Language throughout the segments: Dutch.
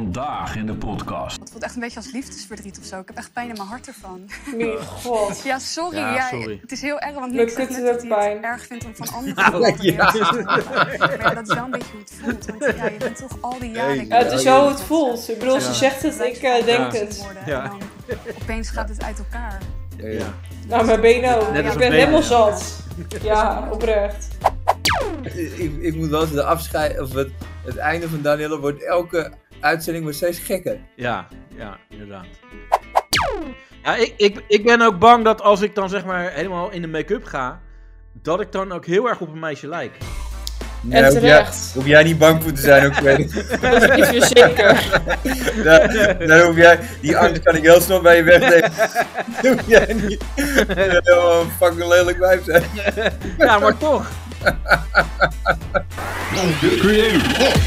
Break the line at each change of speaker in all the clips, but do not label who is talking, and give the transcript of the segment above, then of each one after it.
Vandaag in de podcast.
Het voelt echt een beetje als liefdesverdriet of zo. Ik heb echt pijn in mijn hart ervan.
Nee, god.
Ja, sorry.
Ja,
ja,
sorry.
Het is heel erg, want
Leuk
Nick zegt
dat je
net
dat
dat hij het
pijn.
erg vindt om van anderen te worden.
ja.
Maar ja, dat is wel een beetje hoe het voelt. Want ja, je bent toch al die jaren...
Ja, het is zo hoe het voelt. Ik bedoel, ze
Ja.
zegt het, ik eh, denk het.
Worden,
Ja.
En dan opeens gaat het uit elkaar.
Ja.
Nou, mijn benen ook.
Net als
Ik
een
ben
been,
helemaal
ja.
zat. Ja, oprecht.
Ik, ik moet wel eens de afscheid, of het, het einde van Danielle wordt elke uitzending wordt steeds gekker.
Ja, ja, inderdaad. Ja, ik, ik, ik ben ook bang dat als ik dan zeg maar helemaal in de make-up ga, dat ik dan ook heel erg op een meisje lijk.
En
hoef jij-
terecht.
hoef jij niet bang voor te zijn ook, Freddy.
Is je zeker?
daar, daar hoef jij, die angst kan ik heel snel bij je wegnemen. Dat hoef jij niet. Dat zou een fucking lelijk wijf zijn.
Ja, maar toch.
Creative.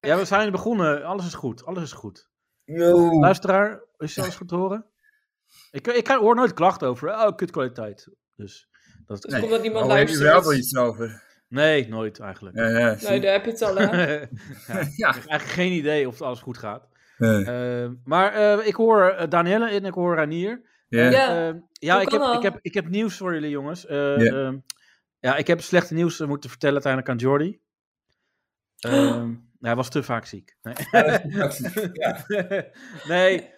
Ja, we zijn begonnen. Alles is goed. Alles is goed.
No.
Luisteraar, is alles goed te horen? Ik, ik hoor nooit klachten over. Oh, kutkwaliteit. Dus, dat,
Nee.
Omdat niemand
Oh,
Daar heb je wel wel
luistert.
iets over.
nee, nooit eigenlijk.
Ja, ja, zie.
Nee, daar heb je het al, hè?
Ja.
Ik heb eigenlijk geen idee of alles goed gaat.
Eh,
Eh, maar eh, ik hoor eh, Danielle en ik hoor Ranier.
Ja.
ja.
Eh, ja
Ehm, hoe
ik,
kan
heb,
dat?
ik, heb, ik heb nieuws voor jullie, jongens. Eh,
Ja.
ehm, ja, ik heb slechte nieuws eh, moeten vertellen uiteindelijk aan Jordi.
Oh.
Ehm, nou, hij was te vaak ziek. Nee. nee.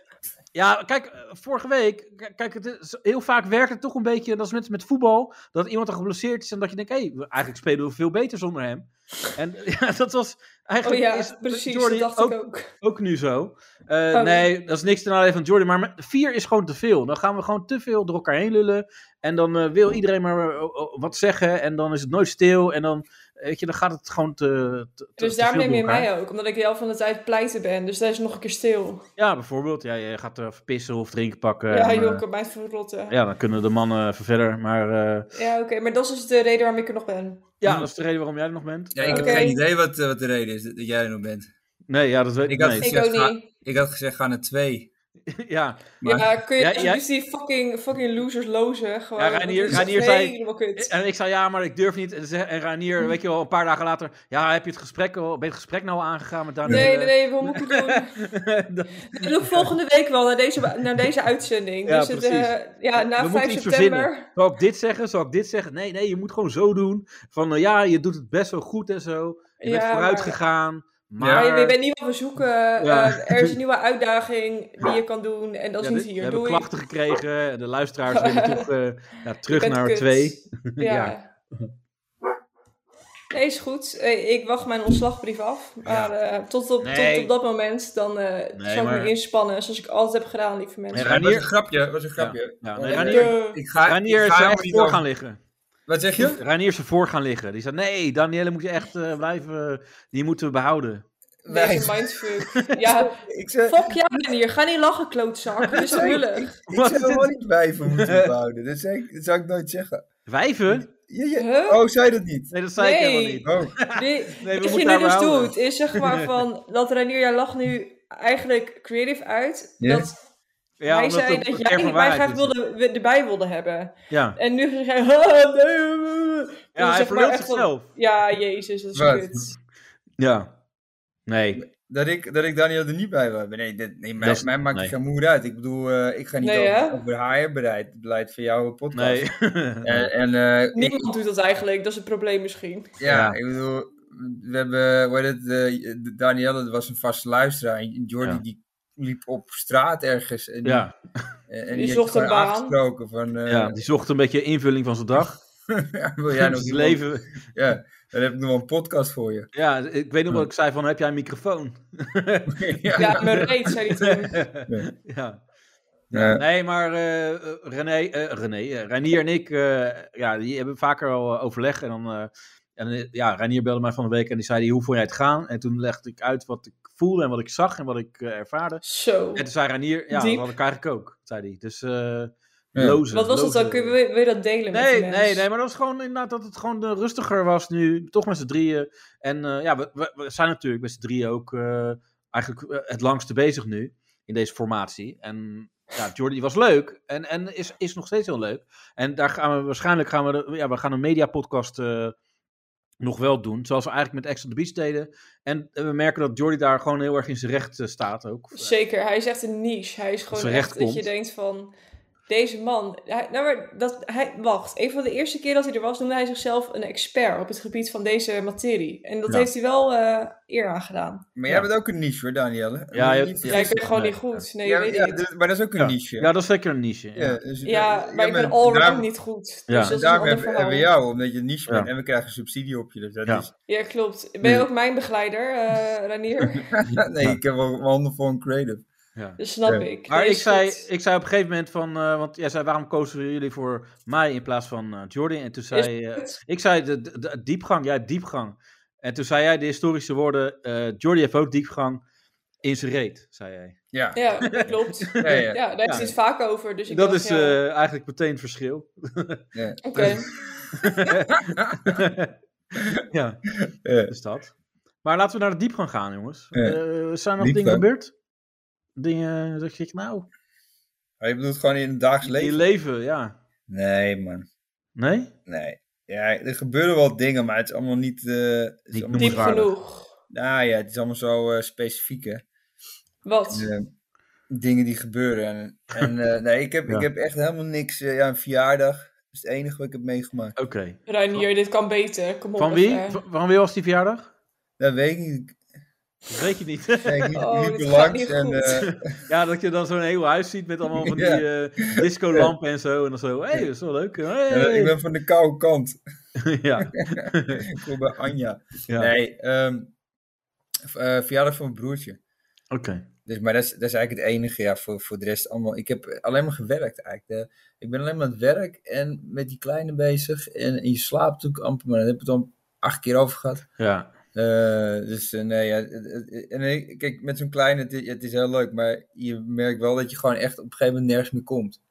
Ja, kijk, eh, vorige week, k- kijk, het is, heel vaak werkt het toch een beetje, dat is met, met voetbal, dat iemand dan geblesseerd is en dat je denkt, hé, hey, we- eigenlijk spelen we veel beter zonder hem. En ja, dat was
Oh
eigenlijk is
ja, precies, dat
Jordi
dacht
ook
ik ook.
ook nu zo. Eh,
Oh.
Nee, dat is niks ten nadele van Jordan. Maar met- vier is gewoon te veel. Dan gaan we gewoon te veel door elkaar heen lullen. En dan eh, wil iedereen maar eh, oh, oh, wat zeggen. En dan is het nooit stil. En dan, weet je, dan gaat het gewoon te. te te-
Dus
te
daarom
veel
neem je
door elkaar.
mij ook, omdat ik de helft van de tijd pleiten ben. Dus daar is nog een keer stil.
Ja, bijvoorbeeld. Ja, je gaat er pissen of drinken pakken.
Ja,
en, eh,
joh, ik kan mij verrotten.
ja, dan kunnen de mannen even verder. Maar eh,
Ja, oké, maar dat is dus de reden waarom ik er nog ben.
ja,
Hmm.
dat is de reden waarom jij er nog bent.
Ja, ik heb
Oké.
geen idee wat, eh, wat de reden is dat dat jij er nog bent.
Nee, ja, dat weet
Ik
ik
had
niet.
het-
Ik
zegt
ook
ga-
niet.
Ik had gezegd, ga naar twee.
Ja,
Maar-
Ja, kun je
Ja,
alsjeblieft die fucking, fucking losers lozen? Gewoon,
Ja, Reinier-
Dat is
Reinier
echt
zei-
helemaal kut.
En ik zei ja, maar ik durf niet. En, ze- en Ranier, weet je wel, een paar dagen later. Ja, heb je het gesprek al, ben je het gesprek nou al aangegaan met Daniel?
Nee, nee, nee, wat moet ik doen? Ik doe volgende week wel, naar deze, naar deze uitzending.
Ja,
dus het,
precies.
eh, ja, na
We moeten
5
iets
september.
verzinnen. Zal ik dit zeggen? Zal ik dit zeggen? Nee, nee, je moet gewoon zo doen. Van eh, ja, je doet het best wel goed en zo. Je bent
Ja,
vooruit
maar-
gegaan.
Maar
Maar
je bent niet wat we zoeken.
Ja.
eh, er is een nieuwe uitdaging die je kan doen. En dat is
Ja,
niet
we-
hier.
We hebben
Doei.
klachten gekregen. en De luisteraars willen toch eh, ja,
Je
terug
bent
naar
kut.
twee.
Ja.
Ja.
Nee, is goed. Eh, Ik wacht mijn ontslagbrief af. Maar eh, tot, op,
Nee.
tot op dat moment dan eh,
Nee,
zal ik
maar-
me inspannen. Zoals ik altijd heb gedaan, lieve mensen.
Nee,
Maar het was
Ranier-
een grapje, was een grapje.
Ja,
Want
nee,
ik-
Ranier,
Eh,
Ik ga,
Ranier
ik ga
is er
helemaal
echt
niet
voor
over-
gaan liggen.
Wat zeg je?
Ranier is er voor gaan liggen. Die zei: Nee, Danielle moet je echt eh, blijven. eh, die moeten we behouden.
Wij-
Deze mindfuck. Ja,
Ik zei,
fuck jou ben hier. Ga niet lachen, klootzak. Dit is
Nee.
lullig.
ik zou wel niet wijven moeten behouden. Dat, zei ik, dat zou ik nooit zeggen.
Wijven?
Ja, ja.
Huh?
Oh, zei dat niet?
Nee, dat zei ik
Nee.
helemaal niet.
Oh.
Die,
Nee, we
wat je
moeten
nu
daar
dus
behouden.
doet, is zeg maar van... Dat Ranier, jij lacht nu eigenlijk creative uit.
Ja.
Dat
Ja,
hij
omdat
zei
het
dat
een kern
jij
van
mij
waarheid
graag
is.
wilde, we- erbij wilde hebben.
Ja,
En nu zeg jij... "Ah, nee, eh, eh." Dus
ja
zeg
hij
maar
verlult
echt van-
zichzelf.
Ja, jezus, dat is
Wat?
kut.
Ja. Nee.
Dat ik, dat ik Daniel er niet bij was. Nee, dit, nee mij,
Dat is-
mij maakt
nee.
het geen moeder uit. Ik bedoel, eh, ik ga niet
Nee,
over,
hè?
over HR-beleid beleid van jouw podcast.
Nee.
En, en eh, ik-
Niemand doet dat eigenlijk. Dat is het probleem misschien.
ja,
Ja.
ik bedoel, we hebben, hoe heet het, eh, de- Danielle dat was een vaste luisteraar. En Jordi
Ja.
die liep op straat ergens. En die,
ja.
en- en
Die
had
zocht een
gewoon
baan.
Afgesproken van, eh,
ja, die zocht een beetje invulling van zijn dag.
wil jij nog
zijn
iemand-
leven.
Ja, dan heb ik nog wel een podcast voor je.
Ja, ik weet nog wat ik zei van, heb jij een microfoon?
ja.
Ja, mijn reet, zei hij toen.
ja.
Ja.
Nee, maar eh, eh, René, eh, René eh, Reinier en ik, eh, ja, die hebben vaker al eh, overleg. En dan, eh, en, eh, ja, Reinier belde mij van de week en die zei, die, hoe vond jij het gaan? En toen legde ik uit wat ik voelde en wat ik zag en wat ik eh, ervaarde.
Zo.
En toen zei Reinier, ja,
Diep.
dat had ik eigenlijk ook, zei hij. Dus eh
Ja.
lozen,
Wat was dat
lozen.
dan? Kun je, wil je- wil je dat delen met
Nee,
de
nee,
mens?
nee, maar dat was gewoon inderdaad dat het gewoon eh, rustiger was nu. Toch met z'n drieën. En eh, ja, we, we, we zijn natuurlijk met z'n drieën ook eh, eigenlijk eh, het langste bezig nu in deze formatie. En ja, Jordi was leuk en, en is, is nog steeds heel leuk. En daar gaan we waarschijnlijk gaan we, de- ja, we gaan een mediapodcast eh nog wel doen. Zoals we eigenlijk met Ex on the Beach deden. En eh, we merken dat Jordi daar gewoon heel erg in zijn recht eh, staat ook.
Zeker, hij is echt een niche. Hij is gewoon
Als er
echt
recht
dat je
komt.
denkt van... Deze man... Hij, nou, maar dat, hij, wacht. Een van de eerste keer dat hij er was, noemde hij zichzelf een expert op het gebied van deze materie. En dat
Ja.
heeft hij wel eh, eer aan gedaan.
Maar jij bent ook een niche hoor, Danielle.
Ja, je-
Niet-
Ja,
Ja, ik ben gewoon
nee.
niet goed. Nee,
Ja,
weet
ja,
ik.
dit- maar dat is ook een
Ja.
niche.
Ja, dat is zeker een niche. Ja.
Ja, dus-
Ja, maar ik ben allround
daarom-
niet goed.
Ja.
Dus dat is een
Daarom
ander
hebben,
verhaal.
hebben we jou, omdat je niche
Ja.
bent. En we krijgen subsidie op je. Dus dat
Ja.
is,
Ja, klopt. Ben je
Ja.
ook mijn begeleider, eh Ranier?
nee, ik heb wel mijn handen voor een creative.
Ja.
Dat snap
Ja.
ik.
Maar
Nee,
ik
is
zei,
goed.
ik zei op een gegeven moment van, eh, want jij zei waarom kozen jullie voor mij in plaats van eh, Jordi? En toen zei,
Is
eh,
goed.
ik zei de, de- de diepgang, jij hebt diepgang. En toen zei jij de historische woorden, eh Jordi heeft ook diepgang in zijn reet, zei jij.
Ja.
Ja, klopt.
Ja, ja.
Ja, daar is
Ja.
het vaak over. Dus ik
dat
dacht,
is
ja,
eh, eigenlijk meteen het verschil.
Oké.
ja,
Eh,
dus dat. Maar laten we naar de diepgang gaan, jongens.
Ja.
Eh, zijn er nog dingen
Diepgang.
gebeurd? Dingen, zeg je, nou,
maar je bedoelt gewoon in het dagelijks
in je
leven?
leven, ja.
Nee, man.
Nee?
Nee. Ja, er gebeuren wel dingen, maar het is allemaal niet... eh, het is
Niet
allemaal
Diep
niet-
noemenswaardig.
genoeg.
Nou ja, het is allemaal zo eh, specifiek, hè.
Wat?
Eh, dingen die gebeuren. En, en eh, nee, ik heb,
Ja.
ik heb echt helemaal niks... eh, ja, een verjaardag. Dat is het enige wat ik heb meegemaakt.
Oké.
Reinier, dit kan beter. Kom op.
Van wie?
even.
Van, van wie was die verjaardag?
Dat weet ik niet.
Dat weet je niet.
Nee, ik liep,
Oh,
liep
dit
er
gaat
langs
niet
en...
goed.
eh,
Ja, dat je dan zo'n heel huis ziet met allemaal van die
Ja.
eh, discolampen en zo. En dan zo, hé, hey, dat is wel leuk.
ja,
Hey.
ik ben van de koude kant.
ja,
Ik kom bij Anja.
ja.
Nee, ehm, v- eh, verjaardag van mijn broertje.
oké.
Dus, maar dat is, dat is eigenlijk het enige, ja, voor, voor de rest allemaal. Ik heb alleen maar gewerkt eigenlijk. Eh, ik ben alleen maar aan het werk en met die kleine bezig. En, en je slaapt natuurlijk amper, maar daar heb ik het dan acht keer over gehad.
Ja,
Eh, dus eh, nee, ja, het- het- het- en ik- kijk, met zo'n kleine, het, het is heel leuk, maar je merkt wel dat je gewoon echt op een gegeven moment nergens meer komt.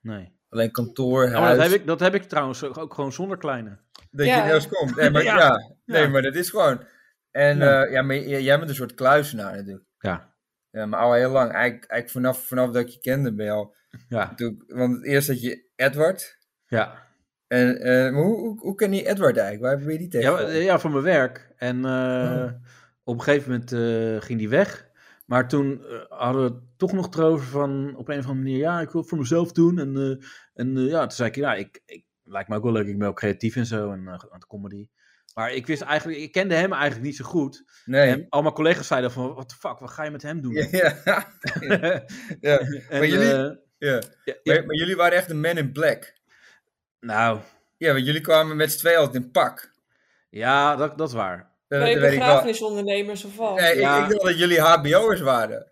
nee.
Alleen kantoor,
Ja, maar
huis,
dat heb, ik, dat heb ik trouwens ook ook gewoon zonder kleine.
dat
Ja.
je nergens komt. Nee, maar,
Ja.
ja. nee,
Ja.
maar dat is gewoon. En eh,
Ja.
ja, ja maar j- jij bent een soort kluisenaar natuurlijk.
Ja,
Ja, maar al heel lang. Eigenlijk, eigenlijk vanaf, vanaf dat ik je kende ben je al
ja,
Toen- want eerst had je Edward.
ja.
En, eh, maar hoe, hoe, hoe ken je Edward eigenlijk? Waar heb je die
Ja, eh,
tegen?
maar- ja, van mijn werk. En eh,
Ja.
op een gegeven moment eh, ging die weg. Maar toen eh, hadden we het toch nog erover van, op een of andere manier, ja, ik wil het voor mezelf doen. En, eh, en eh, ja, toen zei ik, ja, ik, ik, lijkt me ook wel leuk, ik ben ook creatief en zo, en eh, aan het comedy. Maar ik wist eigenlijk, ik kende hem eigenlijk niet zo goed.
nee.
En al mijn collega's zeiden van, what the fuck, wat ga je met hem doen?
Ja, ja,
en,
ja,
eh,
jullie- ja.
ja, ja,
Maar, maar jullie waren echt een man in black.
nou,
Ja, want jullie kwamen met z'n tweeën altijd in pak.
ja, dat, dat is waar.
Dat,
Ben je
dat weet ik wel.
begrafenisondernemers of wat?
Eh, Nee, ik-
Ja.
ik, dacht dat jullie HBO'ers waren.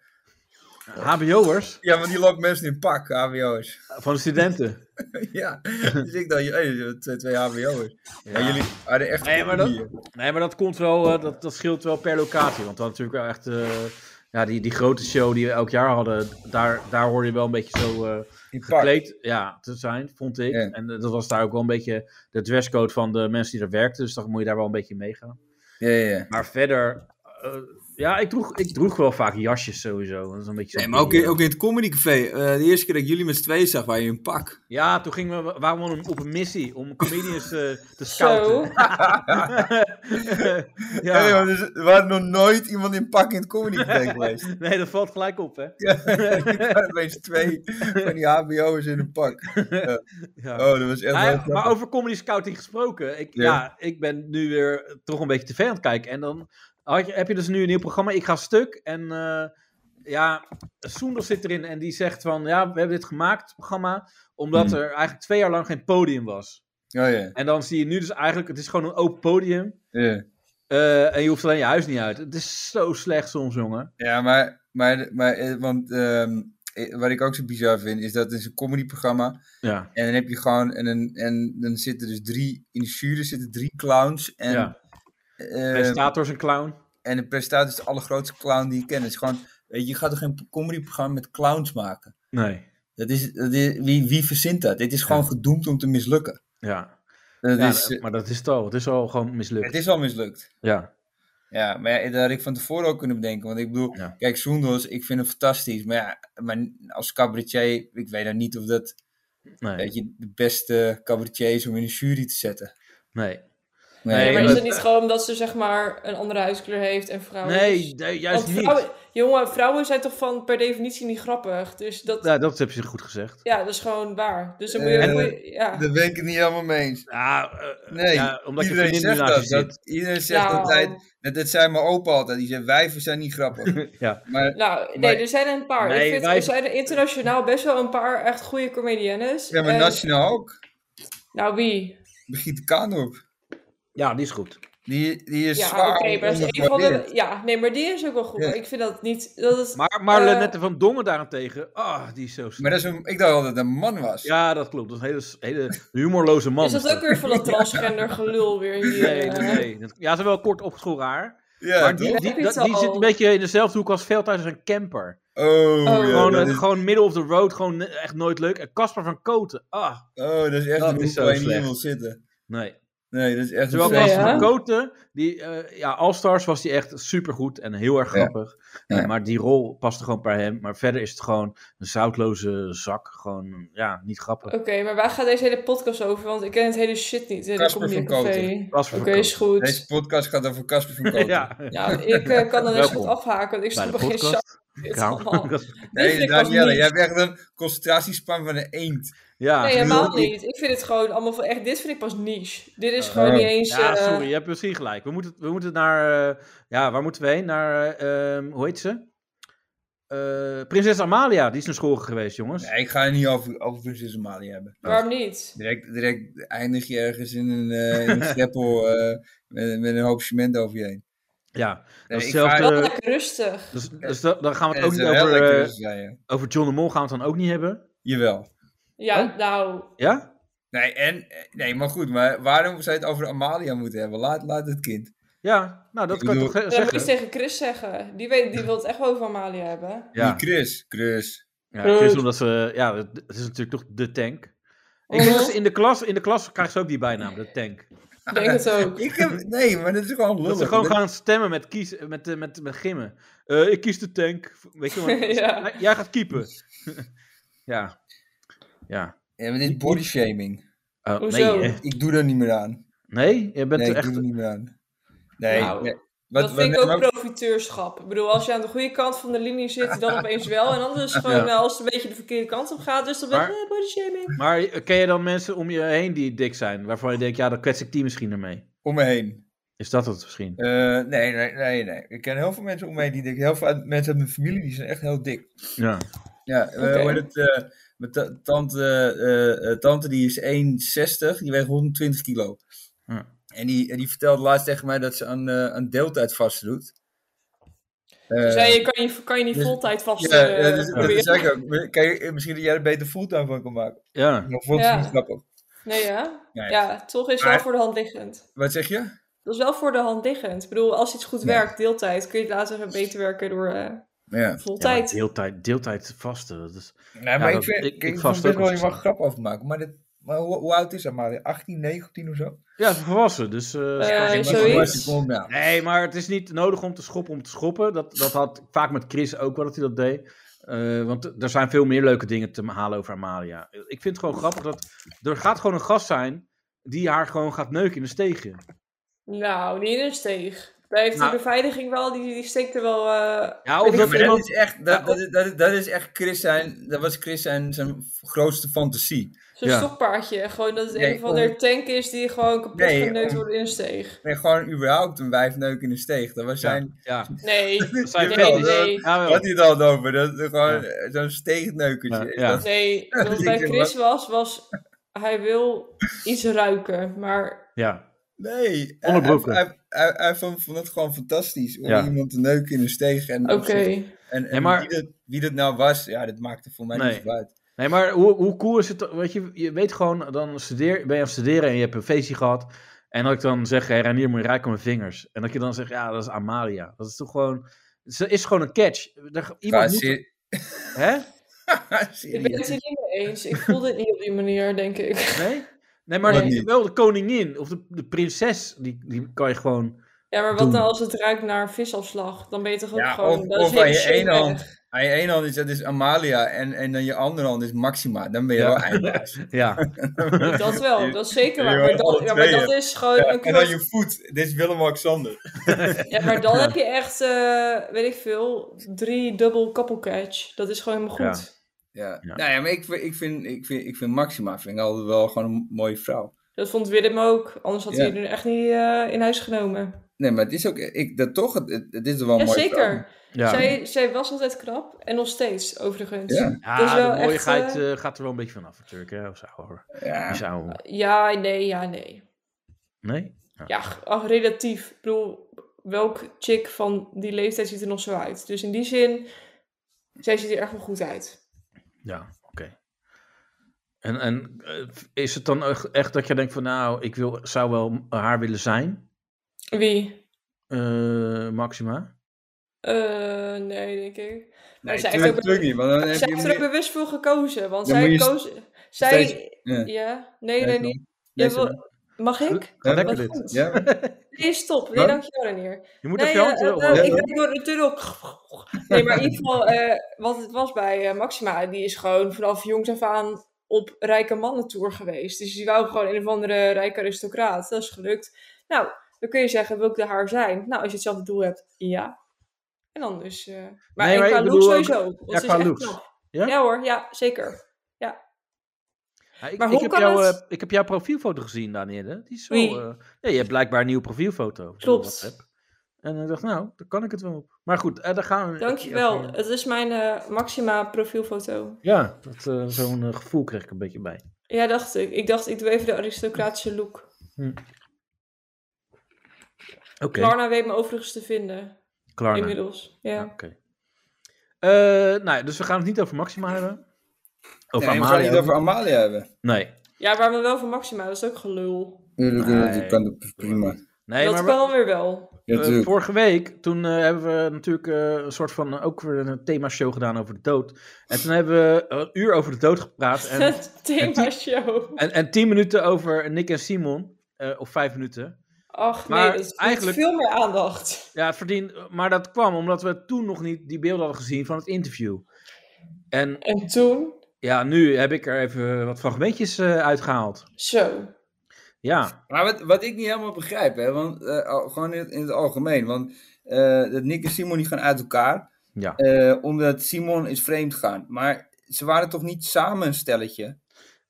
HBO'ers
Ja, want die loopt mensen in pak, HBO'ers.
van de studenten.
ja, dus ik dacht, hey, dat zijn twee, twee HBO'ers. Maar jullie hadden echt
Nee, maar dat-
goeie.
Nee, maar dat komt wel, eh, dat, dat scheelt wel per locatie. Want dan natuurlijk wel echt, eh, ja, die, die grote show die we elk jaar hadden, daar, daar hoor je wel een beetje zo eh,
in pak.
gekleed ja, te zijn, vond ik.
Ja.
En eh, dat was daar ook wel een beetje de dresscode van de mensen die daar werkten. Dus dan moet je daar wel een beetje mee gaan.
Ja, ja, ja.
Maar verder, eh, ja, ik droeg, ik droeg wel vaak jasjes sowieso. Dat is een beetje zo'n
Nee, maar ook
ding,
in, ook in het comedycafé. eh, de eerste keer dat ik jullie met z'n tweeën zag, waren je in pak.
Ja, toen gingen we, waren we op een missie om comedians eh,
Zo.
te scouten. ja.
Nee, want er was nog nooit iemand in pak in het comedy café geweest.
Nee, dat valt gelijk op, hè?
Er waren opeens twee van die HBO'ers in een pak.
Ja.
Oh, dat was echt
Nou
heel
ja,
grappig.
maar over comedy scouting gesproken. Ik, ja.
Ja.
ik ben nu weer toch een beetje tv aan het kijken. En dan had je, heb je dus nu een nieuw programma. Ik ga stuk. En eh, ja, Soendel zit erin. En die zegt van, ja, we hebben dit gemaakt, het programma. Omdat
Hmm.
er eigenlijk twee jaar lang geen podium was.
Oh ja,
En dan zie je nu dus eigenlijk, het is gewoon een open podium.
ja.
Eh, en je hoeft alleen je huis niet uit. Het is zo slecht soms, jongen.
Ja, maar, maar, maar eh, want, ehm, eh, wat ik ook zo bizar vind, is dat het is een comedyprogramma.
Ja.
En dan heb je gewoon, en, dan- en dan zitten dus drie, in de jury zitten drie clowns. En,
ja.
eh,
Presentator is een clown.
en de presentator is de allergrootste clown die je kent. Het is gewoon, weet je, je gaat toch geen comedyprogramma met clowns maken?
Nee.
Dat is, dat is, wie, wie verzint dat? Dit is gewoon
Ja.
gedoemd om te mislukken.
Ja.
Dat
Ja,
is, eh,
dat- maar dat is het al. Het is al gewoon mislukt.
Het is al mislukt.
Ja.
Ja, maar ja, dat had ik van tevoren ook kunnen bedenken. Want ik bedoel,
Ja.
kijk, Soendos, ik vind hem fantastisch. Maar ja, maar als cabaretier, ik weet dan niet of dat
Nee.
weet je, de beste cabaretier is om in een jury te zetten.
Nee. Nee,
maar is
maar-
het niet gewoon omdat ze zeg maar een andere huidskleur heeft en
Nou,
vrouwen...
Nee,
is-
nee,
Want
juist
vrouwen,
niet.
jongen, vrouwen zijn toch van per definitie niet grappig. Dus dat, ja,
Ja, dat heb je goed gezegd.
dat is gewoon waar. Dus dan moet je...
Eh,
moet je- ja.
Daar ben ik het niet helemaal mee eens.
Ja, eh,
Nee,
ja, omdat je
iedereen
vriendin nu
zegt
naast je
dat,
zit.
dat. Iedereen zegt
Nou,
altijd, dat, dat zei mijn opa altijd. Die zei, wijven zijn niet grappig.
Ja.
Maar
Nou, nee,
Maar-
er zijn er een paar.
Nee,
ik vind,
wij-
Er zijn er internationaal best wel een paar echt goede comediennes.
ja, maar
En-
nationaal ook.
Nou, wie?
Brigitte Kaandorp.
ja, die is goed.
Die, die is
Ja, oké,
zwaar
maar dat is een van de...
ondergewaardeerd.
Ja, nee, maar die is ook wel goed.
Ja.
Maar ik vind dat niet... Dat is...
Maar Marlenette
Eh,
van Dongen daarentegen, ah, die is zo sterk.
Maar dat is een, ik dacht altijd dat een man was.
Ja, dat klopt. Dat is een hele, hele humorloze man.
is dat ook weer van dat transgender gelul weer hier?
Nee, nee,
eh?
nee. Dat- Ja, ze hebben wel kort opgeschoren haar.
Ja,
maar
toch?
die, die,
Heb je
dat-
het
die
al?
zit een beetje in dezelfde hoek als Veldhuis en Camper.
Oh, ja,
gewoon,
dat
eh,
is,
gewoon middle of the road, gewoon ne- echt nooit leuk. En Casper van Koten, ah,
oh, dat is echt
dat
een
is
hoek
zo
waar je niet
slecht.
wil zitten.
nee.
Nee, dat is echt
Terwijl
een
Nee,
Casper
slechte
hè?
van
hoek.
Koten, die, eh, ja, All-Stars was die echt supergoed en heel erg
Ja.
grappig.
Ja.
Eh, Maar die rol paste gewoon bij hem. Maar verder is het gewoon een zoutloze zak. Gewoon, ja, niet grappig.
Eh, Oké, maar waar gaat deze hele podcast over? Want ik ken het hele shit niet. Eh,
Casper
dat komt
van
niet op tv.
Casper
Oké,
van
is goed.
Deze podcast gaat over Casper van Koten.
Ja,
Nou, ik eh, kan dan eens
Welkom
goed afhaken, want ik snap
bij de
er geen zak
podcast.
in.
Kamer-
allemaal. Dit
Nee,
vind ik was
Danielle,
niet.
jij hebt echt een concentratiespan van een eend.
Ja,
Nee, helemaal
heel-
niet. Ik vind het gewoon allemaal van echt. Dit vind ik pas niche. Dit is gewoon
Oh.
niet eens.
Ja,
eh,
sorry, je hebt misschien gelijk. We moeten, we moeten naar. eh, ja, waar moeten we heen? Naar. eh, ehm, hoe heet ze? Eh, Prinses Amalia, die is naar school geweest, jongens.
Nee, ik ga het niet over, over Prinses Amalia hebben.
Waarom niet?
Direct, direct eindig je ergens in een, eh in een greppel eh, met, met een hoop cement over je heen.
Ja,
Nee, ik
datzelfde.
ga-
Wel lekker rustig.
dus, dus da- dan gaan we het ook
Het
niet
is wel
over.
lekker,
eh,
dus, ja, ja.
over John de Mol gaan we het dan ook niet hebben.
Jawel.
Ja,
Oh.
nou.
Ja?
Nee, en, eh, nee, maar goed, maar waarom zou je het over Amalia moeten hebben? Laat, laat het kind.
Ja, nou dat
Ik
kan je
bedoel-
Dan
toch
moet je
zeggen.
eens tegen Chris zeggen. Die, weet, die wil het echt wel over Amalia hebben.
Ja,
Die Chris. Chris.
ja,
Eh,
Chris, omdat ze. Ja, het het is natuurlijk toch de tank.
Oh.
Ik denk dat ze in de klas, in de klas krijgt ze ook die bijnaam, de tank.
Ik denk het ook.
Ik heb, nee, maar dat is gewoon lullig.
Dat ze gewoon gaan stemmen met, kiezen, met, eh, met, met gimmen. Eh, ik kies de tank. Weet je wel.
Ja.
Jij- Jij gaat keepen. ja. Ja.
Ja, maar dit is bodyshaming.
Oh,
Hoezo?
nee, hè?
Ik doe daar niet meer aan.
nee, je bent
Nee, ik
echt...
doe er niet meer aan. Nee,
Nou,
nee. Wat,
Dat
wat
vind ik
net
ook profiteurschap. Ik bedoel, als je aan de goede kant van de linie zit, dan opeens wel. En anders gewoon
Ja.
eh, als het een beetje de verkeerde kant op gaat. Dus dan ben je
Maar-
eh, body shaming.
Maar ken je dan mensen om je heen die dik zijn? Waarvan je denkt, ja, dan kwets ik die misschien ermee.
om me heen.
Is dat het misschien?
Eh, nee, nee, nee, nee. Ik ken heel veel mensen om mij die dik. Heel veel uit- mensen uit mijn familie die zijn echt heel dik.
Ja.
Ja, eh,
Oké.
hoe heet het? eh, mijn ta- tante, eh, eh, tante die is 1,60, die weegt 120 kilo.
Ja.
En die, en die vertelde laatst tegen mij dat ze aan, eh aan deeltijd vast doet. Eh,
Dus je kan je, kan je niet
dus-
voltijd vast
ja, dus-
eh,
ja, dat, is- dat
proberen.
zei ik ook. Kijk, eh, misschien dat jij er beter fulltime van kan maken.
Ja.
Dat vond
Ja.
ze niet grappig.
Nee, ja?
Nee.
Ja, toch is wel
Maar-
voor de hand liggend.
Wat zeg je?
Dat is wel voor de hand liggend. Ik bedoel, als iets goed
Nee.
werkt, deeltijd, kun je het later beter werken door eh
Ja.
Ja, maar
voltijd.
deeltijd, deeltijd vasten. Dat is...
Nee, maar
Ja,
ik
dat-
vind,
ik-
ik,
ik
ik
vast
vond
ook
best wel
als-
je mag grap over maken. Maar, dit, maar hoe, hoe oud is dat maar? 18, 19 of zo?
Ja, ze volwassen, dus... eh,
Eh,
ze-
maar
zoiets.
gewoon hartstikke kom nou.
Nee, maar het is niet nodig om te schoppen om te schoppen. Dat, dat had vaak met Chris ook wel dat hij dat deed. Eh, want er zijn veel meer leuke dingen te halen over Amalia. Ik vind het gewoon grappig dat er gaat gewoon een gast zijn die haar gewoon gaat neuken in de steegje.
Nou, niet in een steeg. Daar heeft
Nou.
de beveiliging wel, die, die steekt er wel... eh,
Ja,
weet
of
ik
Ja,
Oh, dat
maar
iemand... Oh.
dat is echt, dat, dat, is- dat, is- dat is echt Chris zijn, dat was Chris zijn, zijn grootste fantasie.
Zo'n
Ja.
stokpaardje. Gewoon dat het
Nee,
een of andere
om-
tank is die gewoon kapot
Nee,
geneukt
om-
wordt in een steeg.
Nee, gewoon überhaupt een wijfneuk in de steeg. Dat was zijn,
Ja,
Nee,
dat zijn
Jawel,
fetish.
nee.
Jawel.
had hij het al over, dat, dat gewoon
Ja.
eh, zo'n steegneukertje.
Ja, ja.
Dat-
nee. Wat
Ik
bij
denk,
Chris was, was hij wil iets ruiken. Maar
ja.
nee, hij-
Onderbroeken.
Hij, hij, hij vond, vond het gewoon fantastisch om
Ja.
iemand te neuken in de steeg. En,
oké.
en, en
Nee, maar-
wie, dat, wie dat nou was, ja, dat maakte voor mij
Nee.
niet veel uit.
Nee, maar hoe, hoe cool is het? toch- Weet je, je weet gewoon, dan studeer, ben je aan het studeren en je hebt een feestje gehad. En dat ik dan zeg, hey, Ranier, moet je ruiken aan mijn vingers. En dat je dan zegt, ja, dat is Amalia. Dat is toch gewoon... Ze is gewoon een catch. Er, iemand
Ja,
moet-
ser-
Hè?
Ik ben het
serieus.
hier niet mee eens. Ik voelde het niet op die manier, denk ik.
Nee? Nee, maar
Nee.
die-
Niet.
wel de koningin of de, de prinses, die, die kan je gewoon...
Ja, maar wat
Doen.
nou als het ruikt naar visafslag? Dan ben je toch ook
Ja,
gewoon...
of-
dat is
of aan
hele
je
shit
ene
weg.
hand. Aan je ene hand is, dat is Amalia en, en dan je andere hand is Maxima. Dan ben je
Ja.
wel eindbaas.
Ja,
Dat wel, dat is zeker waar.
Ja,
Maar dat,
alle
ja, maar
tweeën.
dat is gewoon een
en dan
kwart-
je voet. Dit is Willem-Alexander.
Ja, maar dan heb je echt, eh, weet ik veel, drie dubbel couple catch. Dat is gewoon helemaal goed.
Ja.
Ja.
Nou ja, maar ik, vind- ik, vind, ik, vind, ik vind Maxima vind ik altijd wel gewoon een mooie vrouw.
Dat vond Willem ook. Anders had hij
Ja. Oh,
er echt niet eh, in huis genomen.
Nee, maar het is ook... Ik, dat toch, het, het- het is wel
Ja,
een mooie vrouw.
zeker.
ja.
Zij, zij was altijd knap. En nog steeds, overigens.
Ja.
Ja,
Dat is wel
de
echt,
mooiigheid
eh,
eh, gaat er wel een beetje vanaf natuurlijk, hè? Of zo, hoor. Die
Ja.
zou-
Ja, nee, ja, nee.
Nee?
Ja, g- ach, relatief. Ik bedoel, welk chick van die leeftijd ziet er nog zo uit? Dus in die zin, zij ziet er echt wel goed uit.
Ja, oké. En, en eh, is het dan echt- echt dat je denkt van, nou, ik wil, zou wel haar willen zijn,
Wie?
eh, Maxima?
Eh, nee, denk ik.
Nee,
zij
tuurlijk,
heeft ook-
tuurlijk niet. Want dan heb
zij
je
heeft er ook
meer-
bewust voor gekozen, want
Dan
zij
moet je
koos... Zij...
steeds- ja.
Ja? Nee,
Nee,
nee,
kom.
niet.
Nee,
Jij wil- Mag ik?
Ga
Ja,
wat
lekker dit.
goed.
Ja,
Nee, stop. Nee,
Wat?
dankjewel, Renier.
Je moet
Nee,
even je hand
eh,
eh,
eh,
omhoog.
ik ben door de tunnel... Nee, maar in ieder geval, eh, wat het was bij eh, Maxima, die is gewoon vanaf jongs af aan op rijke mannentour geweest. Dus die wou gewoon een of andere rijke aristocraat. Dat is gelukt. Nou, dan kun je zeggen, wil ik de haar zijn? Nou, als je hetzelfde doel hebt, ja. En dan dus... eh, Maar,
Nee,
en
maar
qua
ik
looks
bedoel ook-
sowieso. want
ja,
ze is
qua
echt
looks.
knap.
Ja?
Ja hoor, ja, zeker.
Ja, ik,
maar
ik
hoe
heb
kan
jou,
het-
eh, ik heb jouw profielfoto gezien, Danielle. Die is zo...
Wie?
eh, ja, je hebt blijkbaar een nieuwe profielfoto. op
Klopt.
WhatsApp. En ik dacht, nou, daar kan ik het wel op. Maar goed, eh, daar gaan we...
Dankjewel.
even-
Het is mijn eh, Maxima profielfoto.
Ja, dat, eh, zo'n eh, gevoel kreeg ik een beetje bij.
Ja, dacht ik. Ik dacht, ik doe even de aristocratische look.
Oké,
Klarna weet me overigens te vinden.
Klarna.
Inmiddels.
Ja,
Ja.
Oké. Eh, nou, ja, dus we gaan het niet over Maxima hebben. Over
nee, we gaan
Amalia.
het niet over Amalia hebben.
Nee.
ja, maar wel van Maxima. Dat is ook gelul.
Tuurlijk,
Nee.
die kan dat prima.
Nee,
dat
maar
kan weer wel.
Ja,
eh,
tuurlijk.
vorige week, toen eh, hebben we natuurlijk eh, een soort van eh, ook weer een themashow gedaan over de dood. En toen hebben we een uur over de dood gepraat. En,
Het thema show.
en, en tien minuten over Nick en Simon. eh, of vijf minuten.
Ach nee,
Maar
dat is
eigenlijk-
veel meer aandacht.
Ja, het verdient. Maar dat kwam omdat we toen nog niet die beelden hadden gezien van het interview. En
En toen,
ja, nu heb ik er even wat fragmentjes eh, uitgehaald.
zo.
Ja,
Maar wat, wat ik niet helemaal begrijp, hè, want eh, al- gewoon in het, in het algemeen, want eh, dat Nick en Simon die gaan uit elkaar,
ja.
eh, omdat Simon is vreemd gaan. Maar ze waren toch niet samen een stelletje?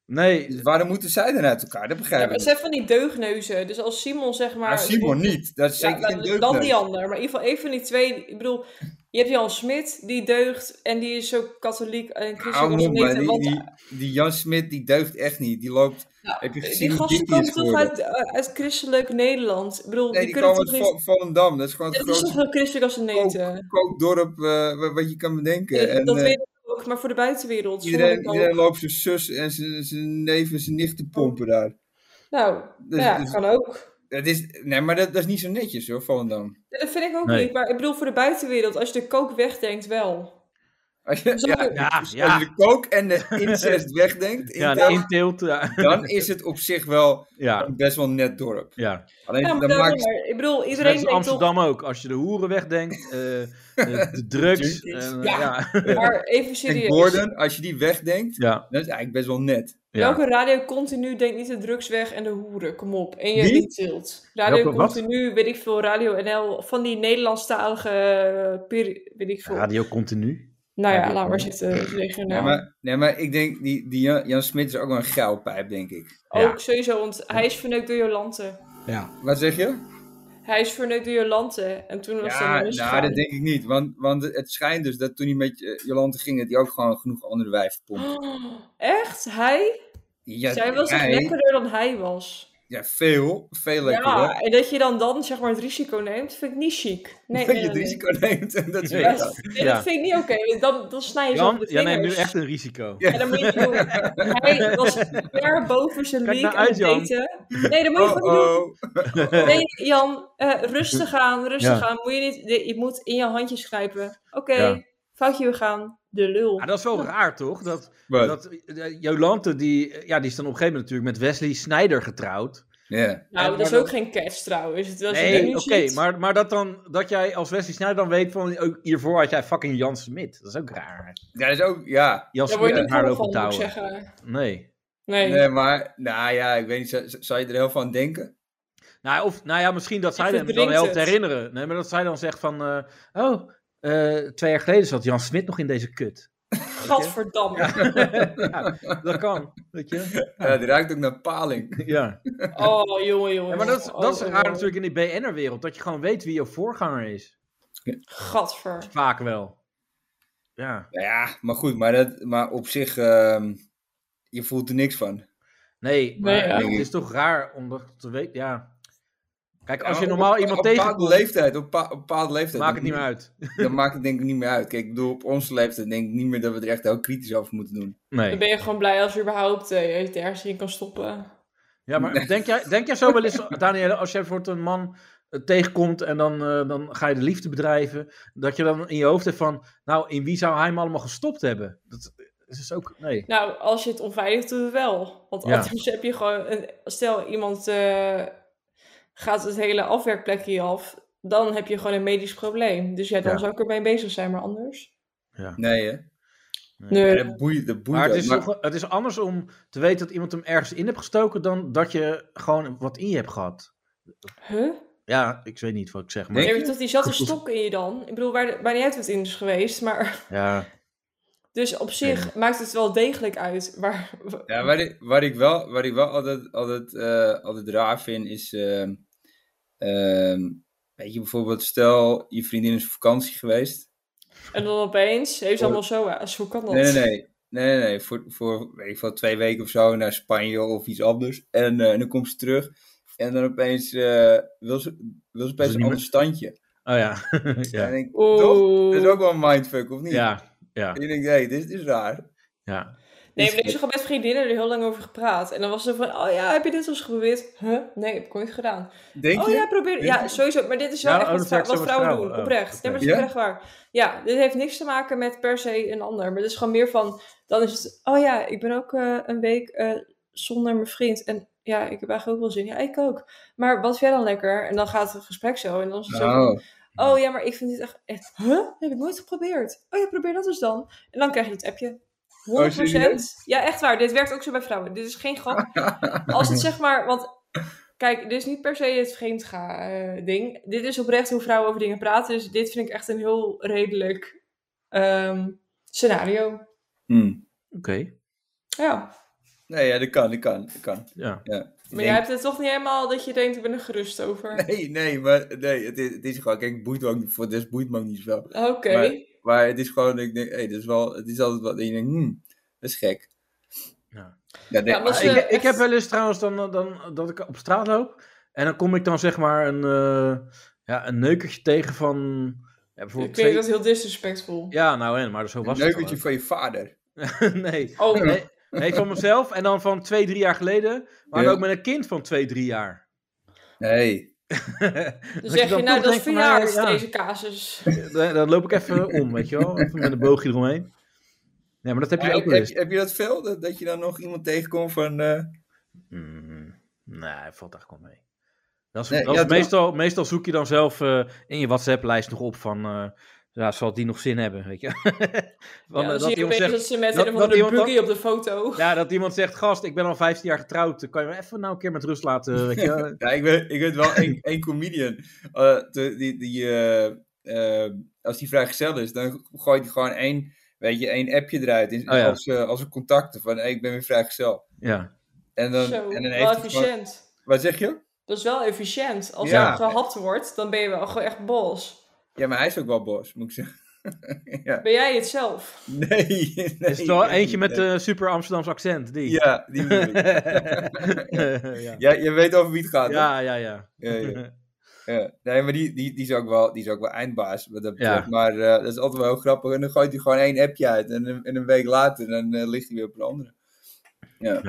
Nee,
Dus waarom moeten zij dan uit elkaar? Dat
Ja,
begrijp
maar
ik
het zijn
niet.
van die deugneuzen. Dus als Simon zeg maar...
Maar Simon niet, dat is
Ja,
zeker
nou,
geen
dus dan die
deugd.
ander. Maar in ieder geval even die twee. Ik bedoel, je hebt Jan Smit, die deugt. En die is zo katholiek en christelijk
Hou
als
op, man.
niet.
Die,
Want
die, die Jan Smit, die deugt echt niet. Die loopt, heb je
die,
gezien hoe
gasten
dik die is
komen toch
geworden?
uit, eh, uit christelijk Nederland. Ik bedoel,
Nee,
die
die
kunnen
komen
toch niet...
uit Volendam. Dat is gewoon het
Dat is toch
grootste
wel christelijk als een neten?
kook- kookdorp eh, wa- wat je kan bedenken. en,
dat
eh,
weet ik ook, maar voor de buitenwereld.
Iedereen,
zonder
iedereen
ook.
loopt zijn zus en zijn- zijn neef en zijn nicht te pompen daar.
Nou,
Dus-
ja,
dus-
kan ook.
Dat is, nee, maar dat, dat is niet zo netjes hoor, Volendam.
Ja, Dat vind ik ook
Nee.
niet. Maar ik bedoel, voor de buitenwereld, als je de kook wegdenkt, wel.
Als je,
Zo.
ja,
ja,
als
ja.
je de kook en de incest wegdenkt,
Ja,
intelt,
de inteelt. Ja,
dan is het op zich wel
ja.
een best wel een net dorp.
ja.
Alleen
Ja, maar,
dan
daarom,
maakt
maar ik bedoel,
Iedereen
iedereen
in
denkt toch...
Amsterdam ook. Als je de hoeren wegdenkt, eh, de, de drugs.
Junkies.
en, eh,
Ja.
ja.
Maar even
en
serieus.
Gordon, als je die wegdenkt,
Ja,
dan is het eigenlijk best wel net.
ja.
Welke radio continu denkt niet de drugs weg en de hoeren? Kom op. En je
Wie?
niet tilt. Radio
Welke wat?
continu, weet ik veel, Radio NL, van die Nederlandstalige, eh, peri- weet ik veel.
Radio continu.
nou ja,
Radio
laat maar
Continu.
zitten. dat is regionaal.
Nee, maar, nee, maar ik denk, die, die Jan, Jan Smit is ook wel een geilpijp, denk ik.
Ook
Ja.
sowieso, want hij is verneukt door Jolante.
Ja.
Wat zeg je?
Hij is verneukt door Jolante. En toen was
Ja,
hij
nou, dat denk ik niet. Want, want het schijnt dus dat toen hij met eh, Jolante ging, dat hij ook gewoon genoeg andere wijven pompte.
Echt? Hij?
Ja,
Zij was echt
hij-
lekkerder dan hij was.
Ja, veel. Veel lekkerder.
Ja, en dat je dan dan zeg maar het risico neemt, vind ik niet chic. Nee,
dat
nee,
je het
nee,
risico neemt en dat ze
Nee.
nee.
weg
Ja,
gaat.
nee,
Ja.
Dat vind ik niet oké. Dan, dan snij je zo
Jan,
op de
jij neemt nu
vingers.
echt een risico.
Ja.
Ja, dat moet je niet doen. Hij was ver boven zijn
Kijk
league
nou uit,
aan het daten. Nee, dat moet je
Oh,
gewoon niet doen.
oh.
Nee, Jan, eh, rustig aan, rustig
Ja.
aan. Moet je, niet, nee, je moet in je handjes grijpen. Oké,
Ja. Ah,
foutje, we gaan. De lul.
Ja, dat is wel raar, toch? Dat,
Wat?
dat eh, Jolante, die, eh, ja, die is dan op een gegeven moment natuurlijk met Wesley Snijder getrouwd.
Ja.
Nou,
maar
dat is
dat-
ook geen catch trouwens. Het was
Nee,
nu
oké,
ziet-
maar, maar dat, dan, dat jij als Wesley Sneijder dan weet van ook hiervoor had jij fucking Jan Smit. Dat is ook raar.
Ja, dat is ook, ja.
Jan
Daar word
Smit
je
en
niet
haar
cool
lopen
van, moet ik
touwen.
zeggen.
Nee.
Nee.
Nee, maar, nou ja, ik weet niet, zou, zou je er heel van denken?
Nou, of, nou ja, misschien dat zij hem dan
verdrinkt
wel
het.
te herinneren. Nee, maar dat zij dan zegt van, eh, oh, eh, twee jaar geleden zat Jan Smit nog in deze kut.
Gadverdamme.
ja, dat kan, weet je.
Ja, het ruikt ook naar paling.
Ja.
Oh, jongen, jongen.
Ja, maar dat, is-
jongen.
dat is
Oh,
raar
oh.
natuurlijk in die BN'er-wereld. Dat je gewoon weet wie je voorganger is.
Gadver.
Vaak wel. Ja.
Nou ja, maar goed, maar, dat, maar op zich, ehm, je voelt er niks van.
Nee, maar
Nee, ja.
het is toch raar om dat te weten. Ja. Kijk, als je
Ja, maar
normaal
op-
iemand
op
tegenkomt,
bepaalde leeftijd, op pa- op bepaalde leeftijd.
maakt het niet
dan-
meer uit.
Dan maakt het denk ik niet meer uit. Kijk, ik bedoel, op onze leeftijd denk ik niet meer dat we er echt heel kritisch over moeten doen.
Dan
Nee.
ben je gewoon blij als je überhaupt eh, je het ergens in kan stoppen.
Ja, maar denk jij, denk jij zo wel eens, Danielle, als jij bijvoorbeeld een man eh, tegenkomt en dan, eh, dan ga je de liefde bedrijven, dat je dan in je hoofd hebt van, nou, in wie zou hij hem allemaal gestopt hebben? Dat is dus ook, nee.
Nou, als je het onveilig doet, wel. Want
Ja.
anders heb je gewoon... Een, stel, iemand eh, gaat het hele afwerkplekje af... dan heb je gewoon een medisch probleem. Dus ja, dan
Ja.
zou ik ermee bezig zijn, maar anders...
Nee, hè?
Nee.
Ja, dat boeit, dat boeit
Maar het
ook,
is,
maar-
toch- het is anders om te weten dat iemand hem ergens in hebt gestoken dan dat je gewoon wat in je hebt gehad.
Huh?
Ja, ik weet niet wat ik zeg, maar
Nee.
Nee, maar tot die zat een stok in je dan. Ik bedoel, waar, de- waar niet uit het in is geweest, maar...
ja,
Dus op zich maakt het wel degelijk uit. Maar
Ja, waar ik, waar ik wel, waar ik wel altijd, altijd, eh, altijd raar vind is. ehm, ehm, weet je bijvoorbeeld, stel je vriendin is op vakantie geweest.
En dan opeens heeft ze allemaal zo eh, Hoe kan dat?
Oh. Nee, nee, nee. Nee, nee, nee. Voor, voor weet ik veel, twee weken of zo naar Spanje of iets anders. En, eh, en dan komt ze terug. En dan opeens eh, wil, ze, wil ze opeens
niet
een
meer-
ander standje.
oh ja,
En dan
ja,
denk ik,
Oeh.
toch? Dat is ook wel een mindfuck, of niet?
ja, ja,
En ik denk, hey, dit, dit is raar.
ja.
Nee, maar ik heb gewoon met vriendinnen er heel lang over gepraat. En dan was ze van, oh ja, heb je dit al eens geprobeerd? Huh? Nee, heb ik nooit gedaan.
Denk
oh
je?
ja, probeer. Ja, sowieso. Maar dit is wel
Ja,
echt
oh,
wat,
dat
vrou-
werkt zo
wat
met
vrouwen doen,
vrouwen. Oh,
oprecht. Nee, maar
oké.
dat is echt waar. Ja, dit heeft niks te maken met per se een ander. Maar het is gewoon meer van, dan is het, oh ja, ik ben ook eh, een week eh, zonder mijn vriend. En ja, ik heb eigenlijk ook wel zin. Ja, ik ook. Maar wat vind jij dan lekker? En dan gaat het gesprek zo. En dan is het zo van,
Oh,
Nou.
oh ja, maar ik vind dit echt, echt huh? Dat heb ik nooit geprobeerd. Oh ja, probeer dat eens dan. En dan krijg je dit appje. 100%.
serieus?
ja, echt waar. Dit werkt ook zo bij vrouwen. Dit is geen grap. Als het zeg maar, want kijk, dit is niet per se het vreemdga eh, ding. Dit is oprecht hoe vrouwen over dingen praten. Dus dit vind ik echt een heel redelijk ehm, scenario.
hm.
Oké,
Ja.
Nee, ja, dat kan, dat kan, dat kan.
ja.
Ja. Ik
Maar
denk-
jij hebt het toch niet helemaal dat je denkt, ik ben er gerust over.
Nee, nee, maar nee, het, is, het is gewoon, kijk, het boeit me ook niet, voor de rest boeit me ook niet zoveel.
Oké.
Maar- Maar het is gewoon, ik denk, hey, dat is wel, het is altijd wat, en je denkt, hmm, dat is gek.
Ja.
Dat denk,
Ja, maar
ah,
ze-
ik-
Ik, ik heb wel eens trouwens dan, dan dat ik op straat loop en dan kom ik dan zeg maar een, eh, ja, een neukertje tegen van, ja,
Ik
bijvoorbeeld
vind
twee-
dat heel disrespectful.
ja, nou en, maar zo
een
was het
neukertje van je vader.
dan ook. nee,
Oh,
Nee, nee, van mezelf en dan van twee, drie jaar geleden. Maar
Ja.
ook met een kind van twee, drie jaar.
Nee.
dan zeg je, nou, dat is verjaardag, deze casus.
Dan, dan loop ik even om, weet je wel. Even met een boogje eromheen. Nee, maar dat heb je
Maar
ook
heb,
wel
heb,
eens.
heb je dat veel, dat, dat je dan nog iemand tegenkomt van, eh,
Mm, nee, valt eigenlijk wel mee. Dat is,
Nee,
dat
ja,
is
toch?
meestal, meestal zoek je dan zelf eh, in je WhatsApp-lijst nog op van... eh, ja, zal die nog zin hebben, weet je.
Ja,
Van, eh,
dan zie je
iemand
opeens
zegt,
dat ze met
dat-
een of
dat
andere
iemand dan-
buggy op de foto.
ja, dat iemand zegt, gast, ik ben al 15 jaar getrouwd. Kan je me even nou een keer met rust laten, weet je.
ja, ik weet, ik weet wel één één comedian, eh, te- die, die eh, eh, als die vrijgezel is, dan gooit hij gewoon één, weet je, één appje eruit in,
Oh ja.
als, eh, als een contacten van, hey, ik ben weer vrijgezel.
ja.
En dan,
Zo,
en dan
wel
heeft hij gewoon,
efficiënt.
wat zeg je?
Dat is wel efficiënt. Als
Ja.
er gehapt wordt, dan ben je wel gewoon echt bos.
Ja, maar hij is ook wel boos, moet ik zeggen. ja.
Ben jij het zelf?
Nee, nee.
Is het wel
nee,
eentje met
nee.
eh super Amsterdamse accent? Die.
Ja, die bedoel ik.
ja.
ja, je weet over wie het gaat.
ja, ja, ja.
hè? Ja, ja. Ja. Nee, maar die, die, die, is ook wel, die is ook wel eindbaas. Wat dat betreft.
Ja.
Maar eh, dat is altijd wel heel grappig. En dan gooit hij gewoon één appje uit. En, een- en een week later dan eh, ligt hij weer op een andere.
Ja.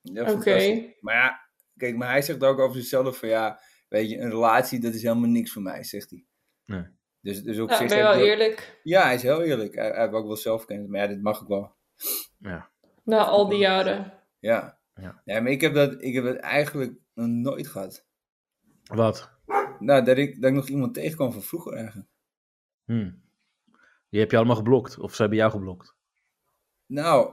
Ja,
Oké.
fantastisch. Maar ja, kijk, maar hij zegt ook over zichzelf van ja, weet je, een relatie dat is helemaal niks voor mij, zegt hij.
Nee.
Dus, dus op
Nou,
zich...
ben je
heeft
wel
hij ook-
eerlijk.
Ja, hij is heel eerlijk. Hij, hij heeft ook wel zelfkennis. Maar ja, dat mag ook wel.
Ja.
Na al die jaren.
Ja.
Ja.
Ja, maar ik heb dat, ik heb dat eigenlijk nog nooit gehad.
Wat?
Nou, dat ik, dat ik nog iemand tegenkwam van vroeger eigenlijk.
Hm. Die heb je allemaal geblokt. Of ze hebben jou geblokt.
Nou,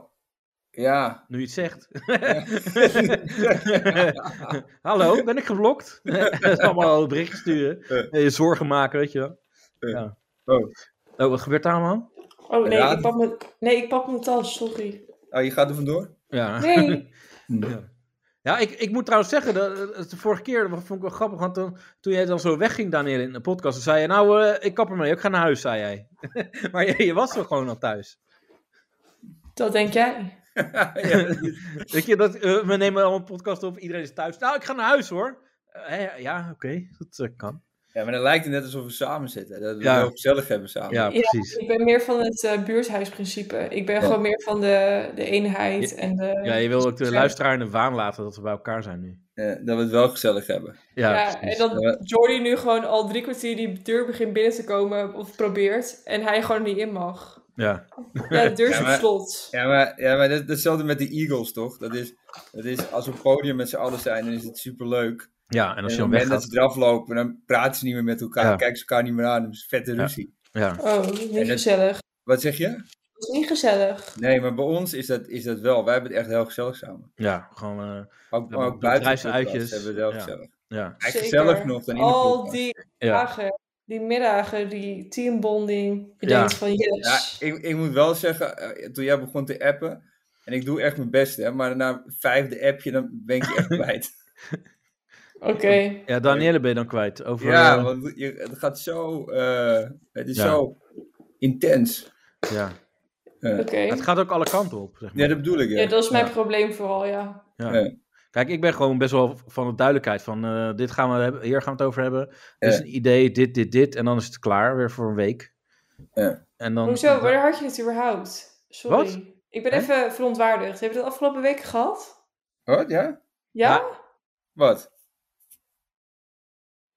ja.
Nu je het zegt. Hallo, ben ik geblokt? Dat is allemaal bericht sturen. Eh, Je zorgen maken, weet je wel. Ja.
Oh.
Oh, wat gebeurt daar, man?
Oh nee,
Ja,
ik pak mijn, nee, ik pak mijn tas, sorry.
Oh, je gaat er vandoor?
Ja.
Nee.
Ja, ik, ik moet trouwens zeggen, dat, dat de vorige keer dat vond ik wel grappig, want toen, toen jij dan zo wegging, Daniel, in de podcast, dan zei je, nou, eh, ik kap ermee, ik ga naar huis, zei jij. maar je, je was toch gewoon al thuis?
Dat denk jij.
Weet je, dat, eh, we nemen al een podcast op, iedereen is thuis. Nou, ik ga naar huis, hoor. Eh, hè, ja, oké, dat eh, kan.
Ja, maar dan lijkt het net alsof we samen zitten. Dat we
Ja.
het heel gezellig hebben samen.
Ja,
Ja.
precies.
Ik ben meer van het eh, buurthuisprincipe. Ik ben gewoon meer van de, de eenheid en de...
Ja, je wil ook de
Ja.
luisteraar in de waan laten dat we bij elkaar zijn nu.
Eh, dat we het wel gezellig hebben.
Ja,
Ja, en
precies.
Ja.
dat Jordy nu gewoon al drie kwartier die deur begint binnen te komen of probeert en hij gewoon niet in mag.
ja.
Ja, de deur is
Ja,
op
maar-
slot.
Ja, maar, ja, maar dat, datzelfde met de Eagles, toch? Dat is, dat is als we op het podium met z'n allen zijn, dan is het superleuk. En
ja, en
op
als
het
je dan
moment dat ze
weggaat.
eraf lopen, dan praten ze niet meer met elkaar,
Ja.
kijken ze elkaar niet meer aan, dan is het vette ruzie.
Ja.
Oh, niet
En dat-
gezellig.
Wat zeg je?
Dat is niet gezellig.
Nee, maar bij ons is dat, is dat wel. Wij hebben het echt heel gezellig samen.
ja, gewoon, eh,
Ook,
Ja,
ook
de
buiten de
bedrijfsuitjes.
podcast hebben we het heel
Ja.
gezellig.
ja,
Eigenlijk
Zeker.
gezellig nog dan in de
Al
podcast.
die
ja.
dagen, die middagen, die teambonding. Je
Ja.
denkt van yes.
Ja, ik, ik moet wel zeggen, eh, toen jij begon te appen, en ik doe echt mijn best, hè, maar na vijfde appje, dan ben ik je echt kwijt.
Oké.
Ja, Danielle ben je dan kwijt. Over,
ja,
eh,
want je, het gaat zo, eh, het is
Ja.
zo intens.
ja.
Eh,
Oké.
Het gaat ook alle kanten op. Zeg maar.
Ja, dat bedoel ik.
Ja, dat is mijn probleem vooral, ja.
ja.
ja.
Kijk, ik ben gewoon best wel van de duidelijkheid van eh, dit gaan we hebben, hier gaan we het over hebben. Dit is
Ja.
een idee, dit, dit, dit. En dan is het klaar, weer voor een week.
Ja.
En dan,
Hoezo, waar had je het überhaupt? Sorry.
Wat?
Ik ben
Hè?
even verontwaardigd. Heb je dat afgelopen weken gehad?
Wat, ja?
Ja?
Ja.
Wat?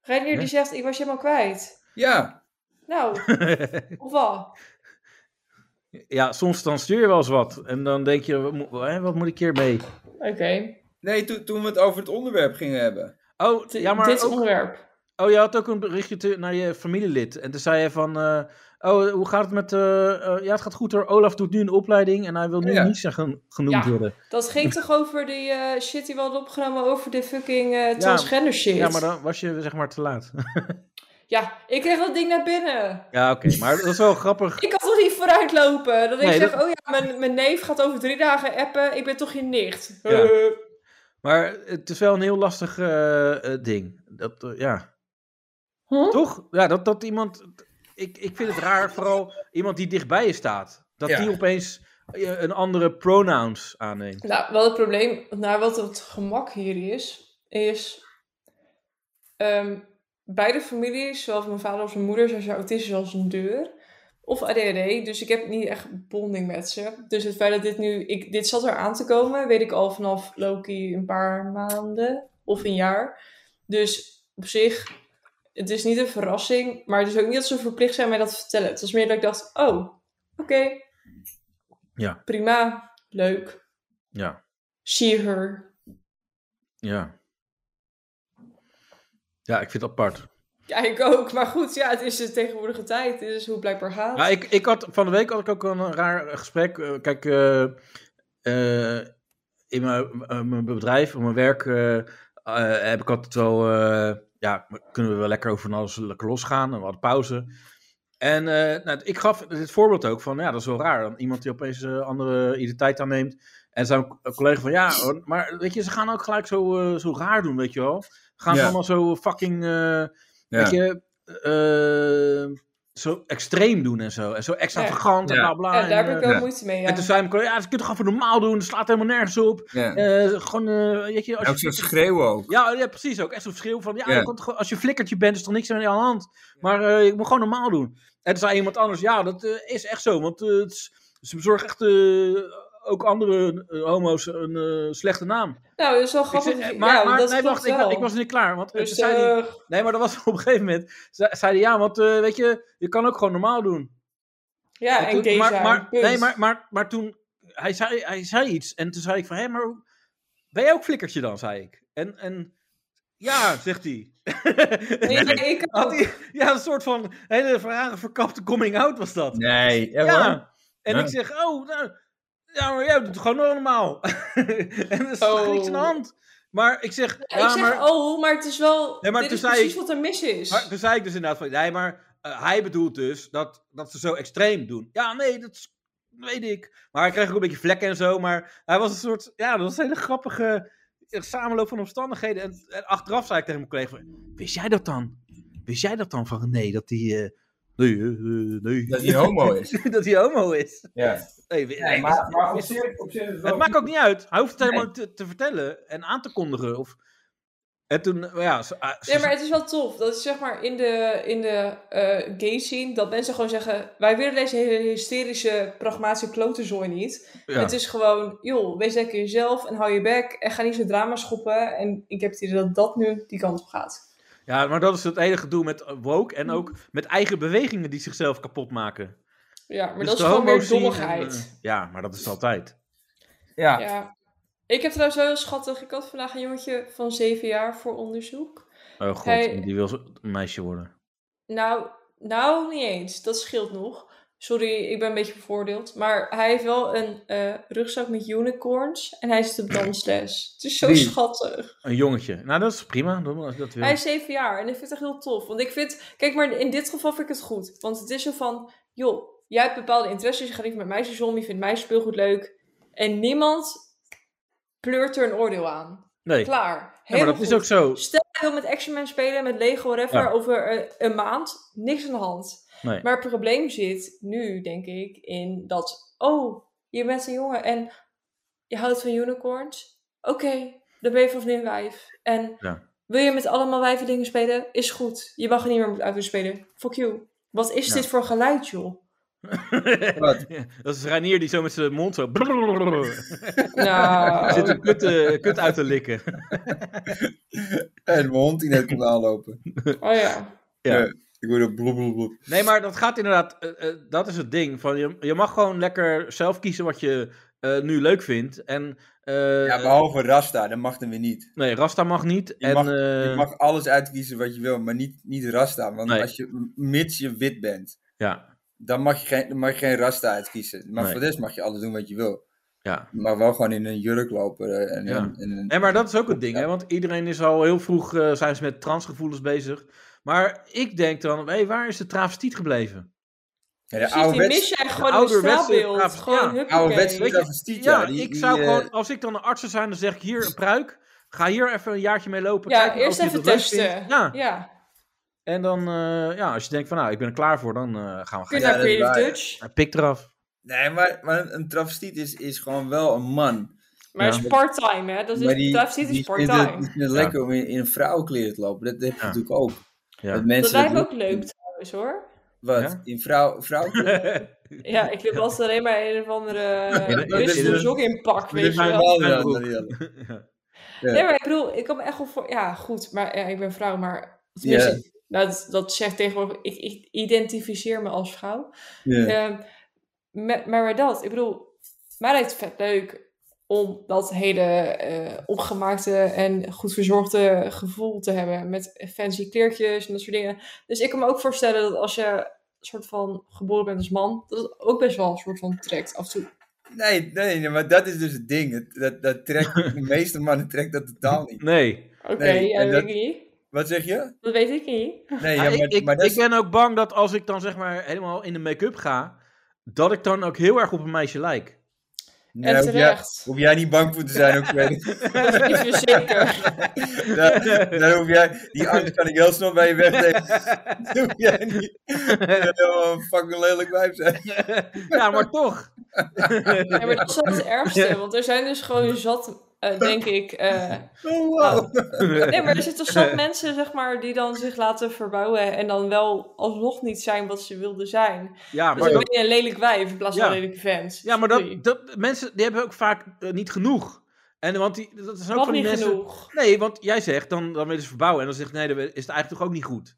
Reinier
Hè?
die zegt, ik was je helemaal kwijt.
Ja,
Nou, of wat?
ja, soms dan stuur je wel eens wat. En dan denk je, wat moet, hè, wat moet ik hiermee?
Oké.
nee, toen toen we het over het onderwerp gingen hebben.
Oh,
Dit-
ja, maar
Dit
ook-
onderwerp.
Oh, je had ook een berichtje te- naar je familielid. En toen zei je van... eh, oh, hoe gaat het met... eh, eh, ja, het gaat goed hoor. Olaf doet nu een opleiding en hij wil nu
Ja.
niet zeggen genoemd
Ja.
worden.
Dat ging toch over die eh, shit die we hadden opgenomen over de fucking eh, transgender shit.
Ja, maar dan was je zeg maar te laat.
Ja, ik kreeg dat ding naar binnen.
ja, oké. Maar dat is wel grappig.
Ik kan toch niet vooruitlopen? Dat
Nee,
ik zeg,
dat-
oh ja, mijn, mijn neef gaat over drie dagen appen. Ik ben toch je nicht.
Ja.
Eh,
Maar het is wel een heel lastig eh, eh, ding. Dat, eh, ja.
Huh?
Toch? Ja, dat, dat iemand... Ik, ik vind het raar, vooral iemand die dichtbij je staat. Dat
Ja.
die opeens eh, een andere pronouns aanneemt.
Nou, wel het probleem, nou, wat het gemak hier is, is ehm, beide families, zowel van mijn vader als mijn moeder, zijn zo autistisch als een deur. Of ADHD, dus ik heb niet echt bonding met ze. Dus het feit dat dit nu, ik, dit zat er aan te komen, weet ik al vanaf Loki een paar maanden of een jaar. Dus op zich, het is niet een verrassing, maar het is ook niet dat ze verplicht zijn mij dat te vertellen. Het was meer dat ik dacht, oh, oké,
Ja.
prima, leuk.
Ja,
She, her.
ja. Ja, ik vind het apart.
Ja, ik ook. Maar goed, ja, het is de tegenwoordige tijd. Dit is hoe het blijkbaar gaat.
Ja, ik, ik had, van de week had ik ook een raar gesprek. Eh, Kijk, eh, eh, in mijn, eh, mijn bedrijf, op mijn werk, eh, eh, heb ik altijd wel... eh, ja, kunnen we wel lekker over van alles lekker losgaan. En we hadden pauze. En eh, nou, ik gaf dit voorbeeld ook van, ja, dat is wel raar. Dan iemand die opeens een andere identiteit aanneemt. En zijn collega van, ja, maar weet je, ze gaan ook gelijk zo, eh, zo raar doen, weet je wel. Gaan ze
Ja.
allemaal zo fucking... eh,
Ja.
Weet je, eh, zo extreem doen en zo. En zo extravagant en
Ja.
bla bla.
ja, daar heb
en,
ik
eh,
wel
ja.
moeite mee. Ja.
en toen zei mijn collega, ja, dat kun je toch gewoon normaal doen, dat slaat helemaal nergens op.
Ja.
Eh, gewoon, eh, weet je, als
En ook
je...
zo'n schreeuwen ook.
Ja, ja, precies ook. Echt zo'n verschil van, ja,
Ja.
je komt gewoon- als je flikkertje bent, is toch niks aan de hand. Maar eh je moet gewoon normaal doen. En toen zei iemand anders, ja, dat eh, is echt zo. Want eh, het is- ze bezorgen echt eh, ook andere eh, homo's een eh, slechte naam.
nou, dat is wel
Ik
grappig.
zei,
dat je-
eh, maar
ja,
maar
dat
nee,
klopt
wacht, ik,
wel. Dus,
wa- ik was niet klaar. Want eh, toen zei hij,
Rustig.
Nee, maar dat was op een gegeven moment. ze- Zei hij, ja, want eh, weet je, je kan ook gewoon normaal doen.
Ja, en
toen-
gay
maar,
zijn. Dus-
maar,
punt.
nee, maar, maar, maar toen, hij zei, hij zei iets. En toen zei ik van, hé, maar hoe- ben jij ook flikkertje dan, zei ik. En, en Ja, zegt hij.
Nee, nee, ik
Had
ook.
hij- ja, een soort van hele verharen verkapte coming out was dat.
Nee, ja, hoor.
Ja. En
Ja.
ik zeg, oh, nou, ja, maar jij doet het gewoon normaal. en dan slaat er niks aan de
Oh.
hand. Maar ik zeg, ja,
ik zeg,
maar...
oh, maar het is wel...
Nee, maar
dit
toen
is
zei
precies
ik-
wat er mis is.
Maar toen zei ik dus inderdaad van, nee, maar eh, hij bedoelt dus dat, dat ze zo extreem doen. Ja, nee, dat is- weet ik. Maar hij kreeg ook een beetje vlekken en zo, maar hij was een soort, ja, dat was een hele grappige eh, samenloop van omstandigheden. En, en achteraf zei ik tegen mijn collega, van, wist jij dat dan? Wist jij dat dan van nee, dat hij, eh, nee, eh, eh, nee,
Dat hij homo is.
dat hij homo is?
Ja.
Nee, we- nee,
maar, maar op zich, op zich is het wel
het maakt ook niet uit. Hij hoeft het helemaal te, te vertellen en aan te kondigen. Of... En toen, eh, ja, ze- ah, ze-
Nee, maar het is wel tof. Dat is zeg maar in de, in de eh, gay scene dat mensen gewoon zeggen: Wij willen deze hele hysterische, pragmatische klotenzooi niet.
ja.
Het is gewoon, joh, wees lekker jezelf en hou je bek en ga niet zo drama schoppen. En ik heb het idee dat dat nu die kant op gaat.
Ja, maar dat is het hele gedoe met eh, woke en ook met eigen bewegingen die zichzelf kapot maken.
Ja, Hmm. maar
Dus
dat is
de
gewoon meer
homo-scene en,
dommigheid.
eh, ja, maar dat is het altijd. eh,
Ja.
Ja. Ik heb trouwens wel heel schattig. Ik had vandaag een jongetje van zeven jaar voor onderzoek.
Oh god,
Hij-
die wil zo- een meisje worden.
Nou, nou, niet eens. Dat scheelt nog. Sorry, ik ben een beetje bevoordeeld. Maar hij heeft wel een eh, rugzak met unicorns. En hij zit op dansles. Het is zo
Wie?
schattig.
Een jongetje. Nou, dat is prima. Dat, dat wil.
Hij is zeven jaar. En ik vind het echt heel tof. Want ik vind... Kijk, maar in dit geval vind ik het goed. Want het is zo van... Joh, jij hebt bepaalde interesses. Je gaat liever met meisjes om. Je vindt meisjes speelgoed leuk. En niemand pleurt er een oordeel aan.
nee,
Klaar.
Ja, maar
Helemaal
dat is
goed.
ook zo.
Stel, je wil met Action Man spelen, met Lego, whatever,
Ja.
over eh, een maand, niks aan de hand.
Nee.
Maar het probleem zit nu, denk ik, in dat, oh, je bent een jongen en je houdt van unicorns. Oké, dan ben je vanaf nu een wijf. En
Ja.
wil je met allemaal wijven dingen spelen? Is goed. Je mag er niet meer met uit spelen. Fuck you. Wat is
Ja.
dit voor geluid, joh?
Wat?
dat is Reinier die zo met zijn mond zo...
Nou,
Zit een kut, eh, kut uit te likken.
En mijn hond die net komt aanlopen.
oh ja.
Ik hoor dat bloep, bloep, bloep.
Nee, maar dat gaat inderdaad. eh, eh, dat is het ding. Van je, je mag gewoon lekker zelf kiezen wat je eh, nu leuk vindt. En, eh,
Ja, behalve Rasta, dat mag dan weer niet.
Nee, Rasta mag niet. en,
mag-
eh,
Je mag alles uitkiezen wat je wil, maar niet, niet Rasta. Want
Nee.
als je, mits je wit bent,
Ja,
dan mag je geen, dan mag je geen Rasta uitkiezen. Maar
Nee.
voor de rest mag je alles doen wat je wil.
ja.
Maar wel gewoon in een jurk lopen. eh, En,
Ja.
en, en,
En maar dat is ook het ding,
Ja.
hè? Want iedereen is al heel vroeg eh, zijn ze met transgevoelens bezig. Maar ik denk dan, hé, waar is de travestiet gebleven?
Ja, de
Precies, die
ouderwets-
mis jij gewoon in
ouderwetse
straatbeeld.
trap- ja,
Gewoon,
ouderwetse
huppakee.
travestiet,
Ja,
ja, die-
ik
die,
zou
eh,
gewoon, als ik dan een arts zou zijn, dan zeg ik hier een pruik. Ga hier even een jaartje mee lopen.
Ja,
kijken of
eerst
je dat
even
leuk
testen.
vindt. Ja.
Ja,
en dan, eh, ja, als je denkt van, nou, ik ben er klaar voor, dan eh, gaan we
kun je
gaan.
Ja,
naar
dat is
Creative
waar, ja.
Dutch.
Ja, Pik eraf.
Nee, maar, maar een, een travestiet is, is gewoon wel een man.
Maar het is part-time, hè? Dat
maar
is, Dus travestiet is
vindt het, die
part-time.
vindt het
Ja.
lekker om in, in een vrouwenkleren te lopen. Dat heb je
Ja.
natuurlijk ook.
Ja.
Dat mensen
Dat lijkt me
doen.
ook leuk trouwens, hoor.
Wat?
Ja?
In vrouw, vrouwenkleren?
Ja, ik loop altijd alleen maar een of andere eh,
dat- dat-
wissel
dat-
joggingpak,
Dat
weet
is
je wel.
normaal dan,
broek.
Danielle.
Nee, maar ik bedoel, ik kan me echt wel voor... Ja, goed, maar ja, ik ben vrouw, maar... Tenminste, nou, dat, dat zegt tegenwoordig... Ik, ik identificeer me als vrouw.
Ja.
Ehm, maar, maar maar dat, ik bedoel, mij lijkt het vet leuk om dat hele eh, opgemaakte en goed verzorgde gevoel te hebben met fancy kleertjes en dat soort dingen. Dus ik kan me ook voorstellen dat als je een soort van geboren bent als man, dat het ook best wel een soort van trekt af en toe.
Nee, nee, nee, maar dat is dus het ding. Het- dat, dat trekt, de meeste mannen trekt dat totaal niet.
Nee.
Oké,
Nee,
ja,
en
dat weet
dat-
ik niet.
Wat zeg je?
Dat weet ik niet.
Nee, ja,
Ja,
maar,
ik, ik,
maar dat
ik
is-
ben ook bang dat als ik dan zeg maar helemaal in de make-up ga, dat ik dan ook heel erg op een meisje lijk.
nee,
en
hoef jij,
terecht.
hoef jij niet bang voor te zijn, ook verder.
Dat is weer zeker.
Daar, daar hoef jij, die angst kan ik heel snel bij je wegnemen. Dat hoef jij niet. Dat wel een fucking lelijk wijf zijn.
ja, maar toch.
Ja, maar dat is wel het ergste, want er zijn dus gewoon zat, eh, denk ik, eh,
Oh, wow.
Nee, maar er zitten toch zat mensen, zeg maar, die dan zich laten verbouwen en dan wel alsnog niet zijn wat ze wilden zijn.
Ja,
Dus
maar,
dan
dat,
ben je een lelijk wijf in plaats van
Ja.
een lelijke fans.
ja, maar dat, dat, mensen die hebben ook vaak eh, niet genoeg. En want die, dat is ook
Wat
van die
niet
mensen.
genoeg.
Nee, want jij zegt dan, dan willen ze verbouwen. En dan zegt nee, dan is het eigenlijk toch ook niet
Dus
goed.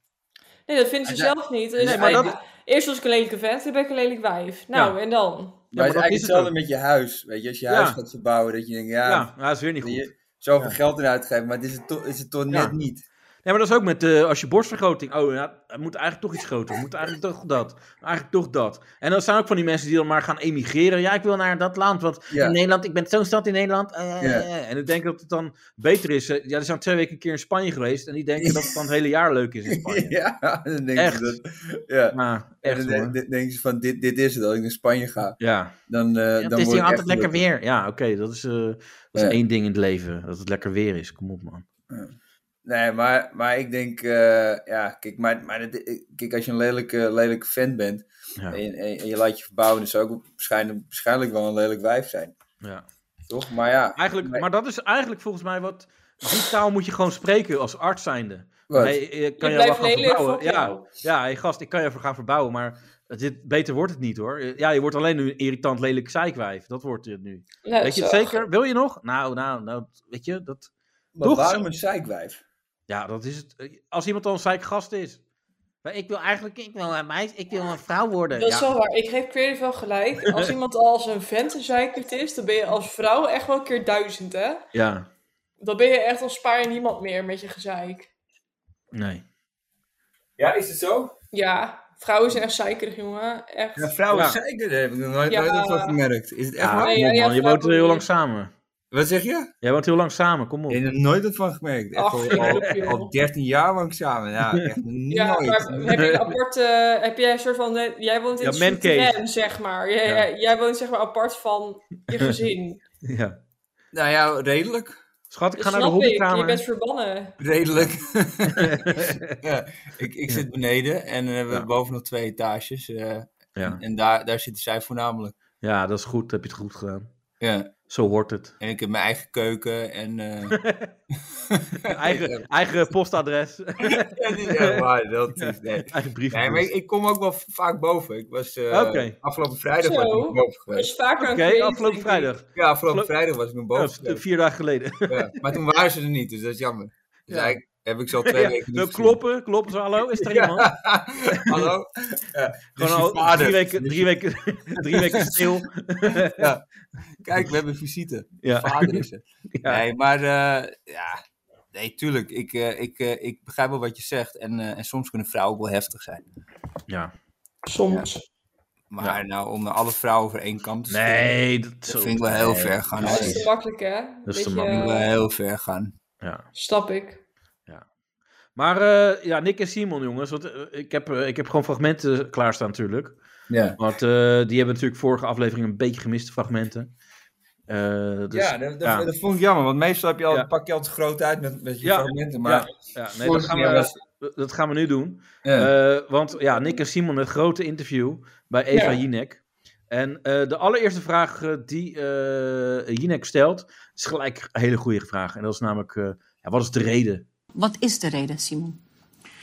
Nee, dat vinden ze
Ja.
zelf niet. Dus
Nee,
maar
ja,
dat-
Eerst was ik een lelijke vent, toen ben ik een lelijk wijf. Nou, en dan?
Maar
maar
het is
dat
eigenlijk
is het
hetzelfde met je huis. Weet je, als je
Ja.
huis gaat verbouwen, dat je denkt, ja,
Ja, dat is weer niet goed.
je- zoveel geld in uitgeven, maar het is het, toch- is het toch net niet.
Ja, maar dat is ook met eh, als je borstvergroting. Oh, ja, het moet eigenlijk toch iets groter. Moet eigenlijk toch dat. Eigenlijk toch dat. En dan zijn ook van die mensen die dan maar gaan emigreren. Ja, ik wil naar dat land. Want
Ja.
in Nederland, ik ben zo'n stad in Nederland. eh,
Ja.
En ik denk dat het dan beter is. eh, Ja, die zijn twee weken een keer in Spanje geweest. En die denken dat het dan het hele jaar leuk is in Spanje.
Ja, dan denk
Oh, Echt.
je dat. Ja.
Maar
En
Ah, echt
dan
hoor.
denk- dan denken ze van, dit, dit is het. Als ik naar Spanje ga,
Ja.
dan, eh
Ja,
dan
het is
word
hier
ik
altijd
echt
lekker
gelukkig.
weer. Ja, oké, dat is, eh, dat is
Ja.
één ding in het leven. Dat het lekker weer is. Kom op, man.
Nee, maar, maar ik denk, eh, ja, kijk, maar, maar dat- kijk, als je een lelijke, lelijke fan bent
Ja.
en, en, en je laat je verbouwen, dan zou ik ook waarschijnlijk, waarschijnlijk wel een lelijk wijf zijn.
Ja.
Toch? Maar ja,
Eigenlijk,
Nee.
maar dat is eigenlijk volgens mij wat. Die taal moet je gewoon spreken als arts zijnde.
wat?
Nee, eh, kan
Je
je wel
blijft
gaan
lelijk,
verbouwen.
fuck
Ja,
jou.
ja hey, gast, ik kan je voor gaan verbouwen, maar dit, beter wordt het niet hoor. Eh, Ja, je wordt alleen nu een irritant lelijk zeikwijf. Dat wordt het nu.
Nee,
weet je het
Nou, zo.
zeker? Wil je nog? Nou, nou, nou, weet je, dat,
Maar
toch?
waarom een zeikwijf?
ja, dat is het. Eh, Als iemand al een zeikgast is. Maar ik wil eigenlijk, ik wil een meisje, ik wil een vrouw worden.
Dat is
eh, ja.
wel waar. Ik geef Creative wel gelijk. Als iemand als een vent een zeikert is, dan ben je als vrouw echt wel een keer duizend, hè?
ja,
Dan ben je echt als spaar je niemand meer met je gezeik.
nee.
Ja, is het zo?
Ja, vrouwen zijn echt zeikerig, jongen. Echt.
Ja, vrouwen
Ja.
zeikeren, daar heb ik nog nooit,
Ja.
nooit wat gemerkt. Is het echt
Ja, Oh.
waar?
Nee,
kom
ja,
op,
ja,
man. Je
vrouw
woont
moet
heel
je-
lang samen.
Wat zeg je?
Jij woont heel lang samen, kom op.
Ik heb er nooit wat van gemerkt. Echt
Ach,
al,
joh,
al,
joh.
al 13 jaar lang samen. Ja, echt
Ja,
nooit.
maar heb je een apart, eh, heb jij een soort van, eh, jij woont in
Ja,
een
man cave.
souterrain, zeg maar. Jij,
Ja.
jij- jij woont zeg maar apart van je gezin.
Ja.
Nou ja, redelijk.
Schat, ik
Dat
ga naar de
snap ik,
hobbykamer.
je bent verbannen.
Redelijk. ja, ik ik
Ja.
zit beneden en eh, we hebben
Ja.
boven nog twee etages. eh,
Ja.
En daar, daar zitten zij voornamelijk.
ja, dat is goed. Heb je het goed gedaan.
Ja.
Zo hoort het.
En ik heb mijn eigen keuken en... eh,
Eigen, eigen postadres.
dat is echt waar, dat is... Nee.
eigen brief.
Nee, maar ik, ik kom ook wel v- vaak boven. Ik was eh,
Oké.
afgelopen vrijdag
Zo.
was ik nog boven
Dat
geweest.
is vaker
Oké,
een creative,
afgelopen
denk ik.
vrijdag.
Ja, afgelopen
Afgelo-
vrijdag was ik nog
Ja,
boven
dat is
geweest.
vier dagen geleden.
Ja, maar toen waren ze er niet, dus dat is jammer. Dus
Ja.
eigenlijk heb ik ze al twee
Ja,
weken niet
zo
gezien.
kloppen, kloppen zo. Hallo, is er iemand?
Hallo? Ja, dus
Gewoon al
je vader.
drie weken,
Dus
drie weken, drie weken stil.
je- Kijk, we hebben visite.
Ja.
Vader is er.
Ja.
Nee, maar eh, ja... Nee, tuurlijk. Ik, eh, ik, eh, ik begrijp wel wat je zegt. En, eh, en soms kunnen vrouwen ook wel heftig zijn.
ja.
Soms.
Maar nou, om alle vrouwen over één kam te scheren,
Nee, dat,
dat
zo-
vind ik wel heel
nee.
ver gaan.
Dat
hoor.
is te
Dat
makkelijk, hè?
Dat is te
Beetje,
vind ik wel
eh,
heel ver gaan.
Ja.
Snap ik.
Maar eh, ja, Nick en Simon, jongens. Want, eh, ik, heb, eh, ik heb gewoon fragmenten klaarstaan, natuurlijk.
Ja,
Want eh, die hebben natuurlijk vorige aflevering een beetje gemiste fragmenten. Eh, dus,
ja, dat, dat,
ja.
dat vond ik jammer, want meestal heb je al,
Ja.
pak je altijd groot uit met, met je
Ja.
fragmenten. Maar
Ja, nee, dat, gaan
keer
we, dat gaan we nu doen.
ja.
Eh, want ja, Nick en Simon, het grote interview bij Eva
Ja.
Jinek. En eh, de allereerste vraag eh, die eh Jinek stelt, is gelijk een hele goede vraag. En dat is namelijk, eh, ja, wat is de reden?
Wat is de reden, Simon?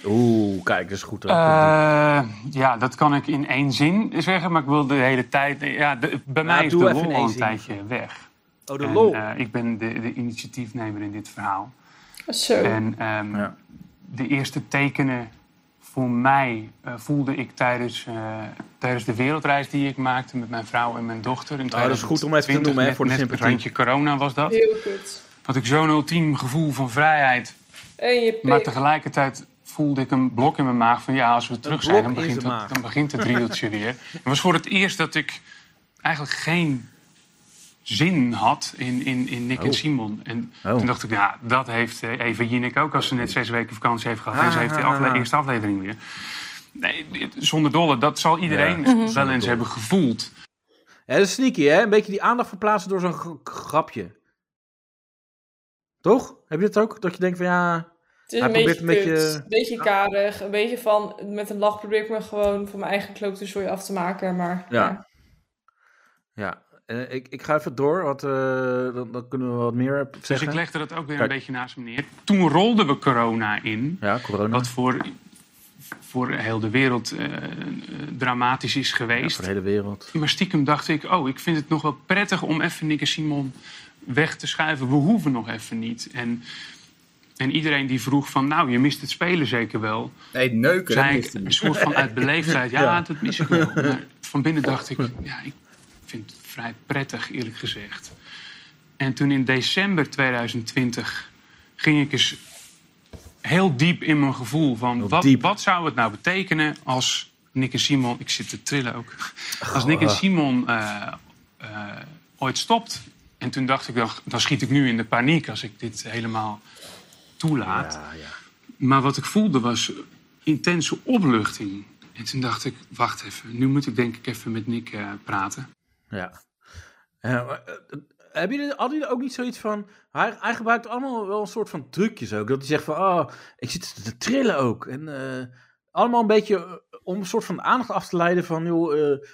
Oeh, kijk, dat is goed. hè?
Eh, ja, dat kan ik in één zin zeggen, maar ik wil de hele tijd. Ja, de- bij mij is
doe
de
even in
rol al
één
een
zin.
tijdje weg.
oh, de
En,
lol.
eh, ik ben de, de initiatiefnemer in dit verhaal.
Zo.
En ehm,
Eh, Ja.
de eerste tekenen voor mij eh, voelde ik tijdens, eh, tijdens de wereldreis die ik maakte met mijn vrouw en mijn dochter. In
Nou, dat is goed om even te
2020,
noemen, hè,
net-
voor de
net
sympathie.
randje corona was dat.
Heel kut.
Had ik zo'n ultiem gevoel van vrijheid.
En je pik.
Maar tegelijkertijd voelde ik een blok in mijn maag van ja, als we terug zijn,
blok
dan
in
begint,
zijn
het,
maag.
dan begint het riedeltje weer. Het was voor het eerst dat ik eigenlijk geen zin had in, in, in Nick en Simon. En
Oh.
toen dacht ik, ja, dat heeft eh, Eva Jinek ook als ze net zes weken vakantie heeft gehad. en ze heeft de
Ah, ah,
afle-
ah.
eerste aflevering weer. Nee, dit- zonder dolle, dat zal iedereen
Mhm.
wel eens hebben gevoeld. Dus
Ja, dat is sneaky, hè? Een beetje die aandacht verplaatsen door zo'n g- grapje. Toch? Heb je dat ook? Dat je denkt van ja.
Het is
Hij
een beetje,
probeert een
kut,
beetje-
een beetje karig, een beetje van, met een lach probeer ik me gewoon van mijn eigen klote zooi af te maken, maar
Ja. Ja, eh, ik, ik ga even door, want eh, dan, dan kunnen we wat meer op
Dus
zeggen.
ik legde dat ook weer
Kijk.
een beetje naast me neer. Toen rolden we corona in.
Ja, corona.
Wat voor, voor heel de wereld eh, eh, dramatisch is
Ja,
geweest.
voor de hele wereld.
maar stiekem dacht ik, oh, ik vind het nog wel prettig om even Nick en Simon weg te schuiven. We hoeven nog even niet. En, en iedereen die vroeg van, nou, je mist het spelen zeker wel.
nee, neuken. dat
Zei
mist
ik
hij
een
niet.
soort van uit beleefdheid, ja, dat mis ik wel. Maar van binnen dacht ik, ja, ik vind het vrij prettig eerlijk gezegd. En toen in december 2020 ging ik eens heel diep in mijn gevoel van... Wat,
diep.
wat zou het nou betekenen als Nick en Simon... Ik zit te trillen ook. Als Nick en Simon eh, eh, ooit stopt. En toen dacht ik, dan, dan schiet ik nu in de paniek als ik dit helemaal toelaat. Maar wat ik voelde was intense opluchting. En toen dacht ik, wacht even, nu moet ik denk ik even met Nick eh, praten.
Ja. Eh, maar, eh, eh, hebben jullie, hadden jullie ook niet zoiets van... Hij, hij gebruikt allemaal wel een soort van trucjes ook. Dat hij zegt van, oh, ik zit te trillen ook. En eh, allemaal een beetje eh, om een soort van aandacht af te leiden van... Joh, eh,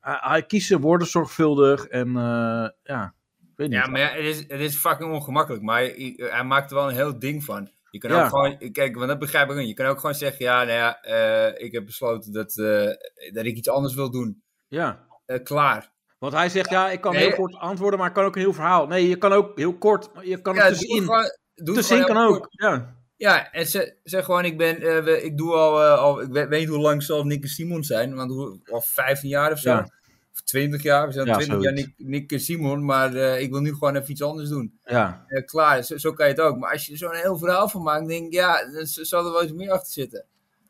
hij, hij kiest zijn woorden zorgvuldig en eh, ja, ik weet niet.
Ja, maar ja, het, is, het is fucking ongemakkelijk. Maar hij, hij maakt er wel een heel ding van. Je kan
Ja.
ook gewoon, kijk, want dat begrijp ik niet. Je kan ook gewoon zeggen, ja, nou ja, eh, ik heb besloten dat, eh, dat ik iets anders wil doen.
ja.
Eh, klaar.
Want hij zegt, ja, ik kan
Nee,
heel
eh,
kort antwoorden, maar ik kan ook een heel verhaal. Nee, je kan ook heel kort, maar je kan
Ja,
er
doe het
tussenin.
gewoon- doe het
Tussenin
gewoon
kan
heel
ook,
kort.
ja.
Ja, en ze, zeg gewoon, ik ben, eh, we- ik doe al, eh, al ik weet, weet niet hoe lang zal Nick en Simon zijn, want hoe, al 15 jaar of zo.
Ja.
Of 20 jaar, we zijn
Ja,
20 jaar
zoiets.
Nick, Nick en Simon, maar eh, ik wil nu gewoon even iets anders doen.
Ja,
Ja, klaar, zo, zo kan je het ook. Maar als je er zo'n heel verhaal van maakt, denk ik, ja, dan z- zal er wel iets meer achter zitten.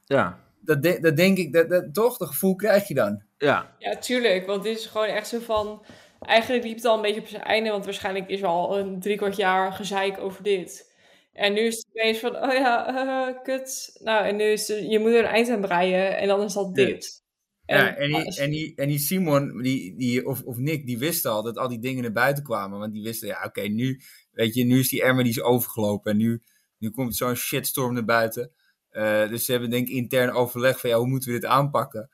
ja,
Dat, de- dat denk ik, dat, dat, toch, dat gevoel krijg je dan.
ja,
Ja, tuurlijk. Want dit is gewoon echt zo van. Eigenlijk liep het al een beetje op zijn einde, want waarschijnlijk is er al een driekwart jaar gezeik over dit. En nu is het ineens van, oh ja, eh, kut. Nou, en nu is het- je moet er een eind aan breien en dan is dat
Ja.
dit.
ja, en die,
als-
en die, en die Simon die, die, of, of Nick, die wisten al dat al die dingen naar buiten kwamen. Want die wisten, ja, oké, nu, weet je, nu is die emmer die is overgelopen. En nu, nu komt zo'n shitstorm naar buiten. Eh, dus ze hebben denk ik intern overleg van, ja, hoe moeten we dit aanpakken?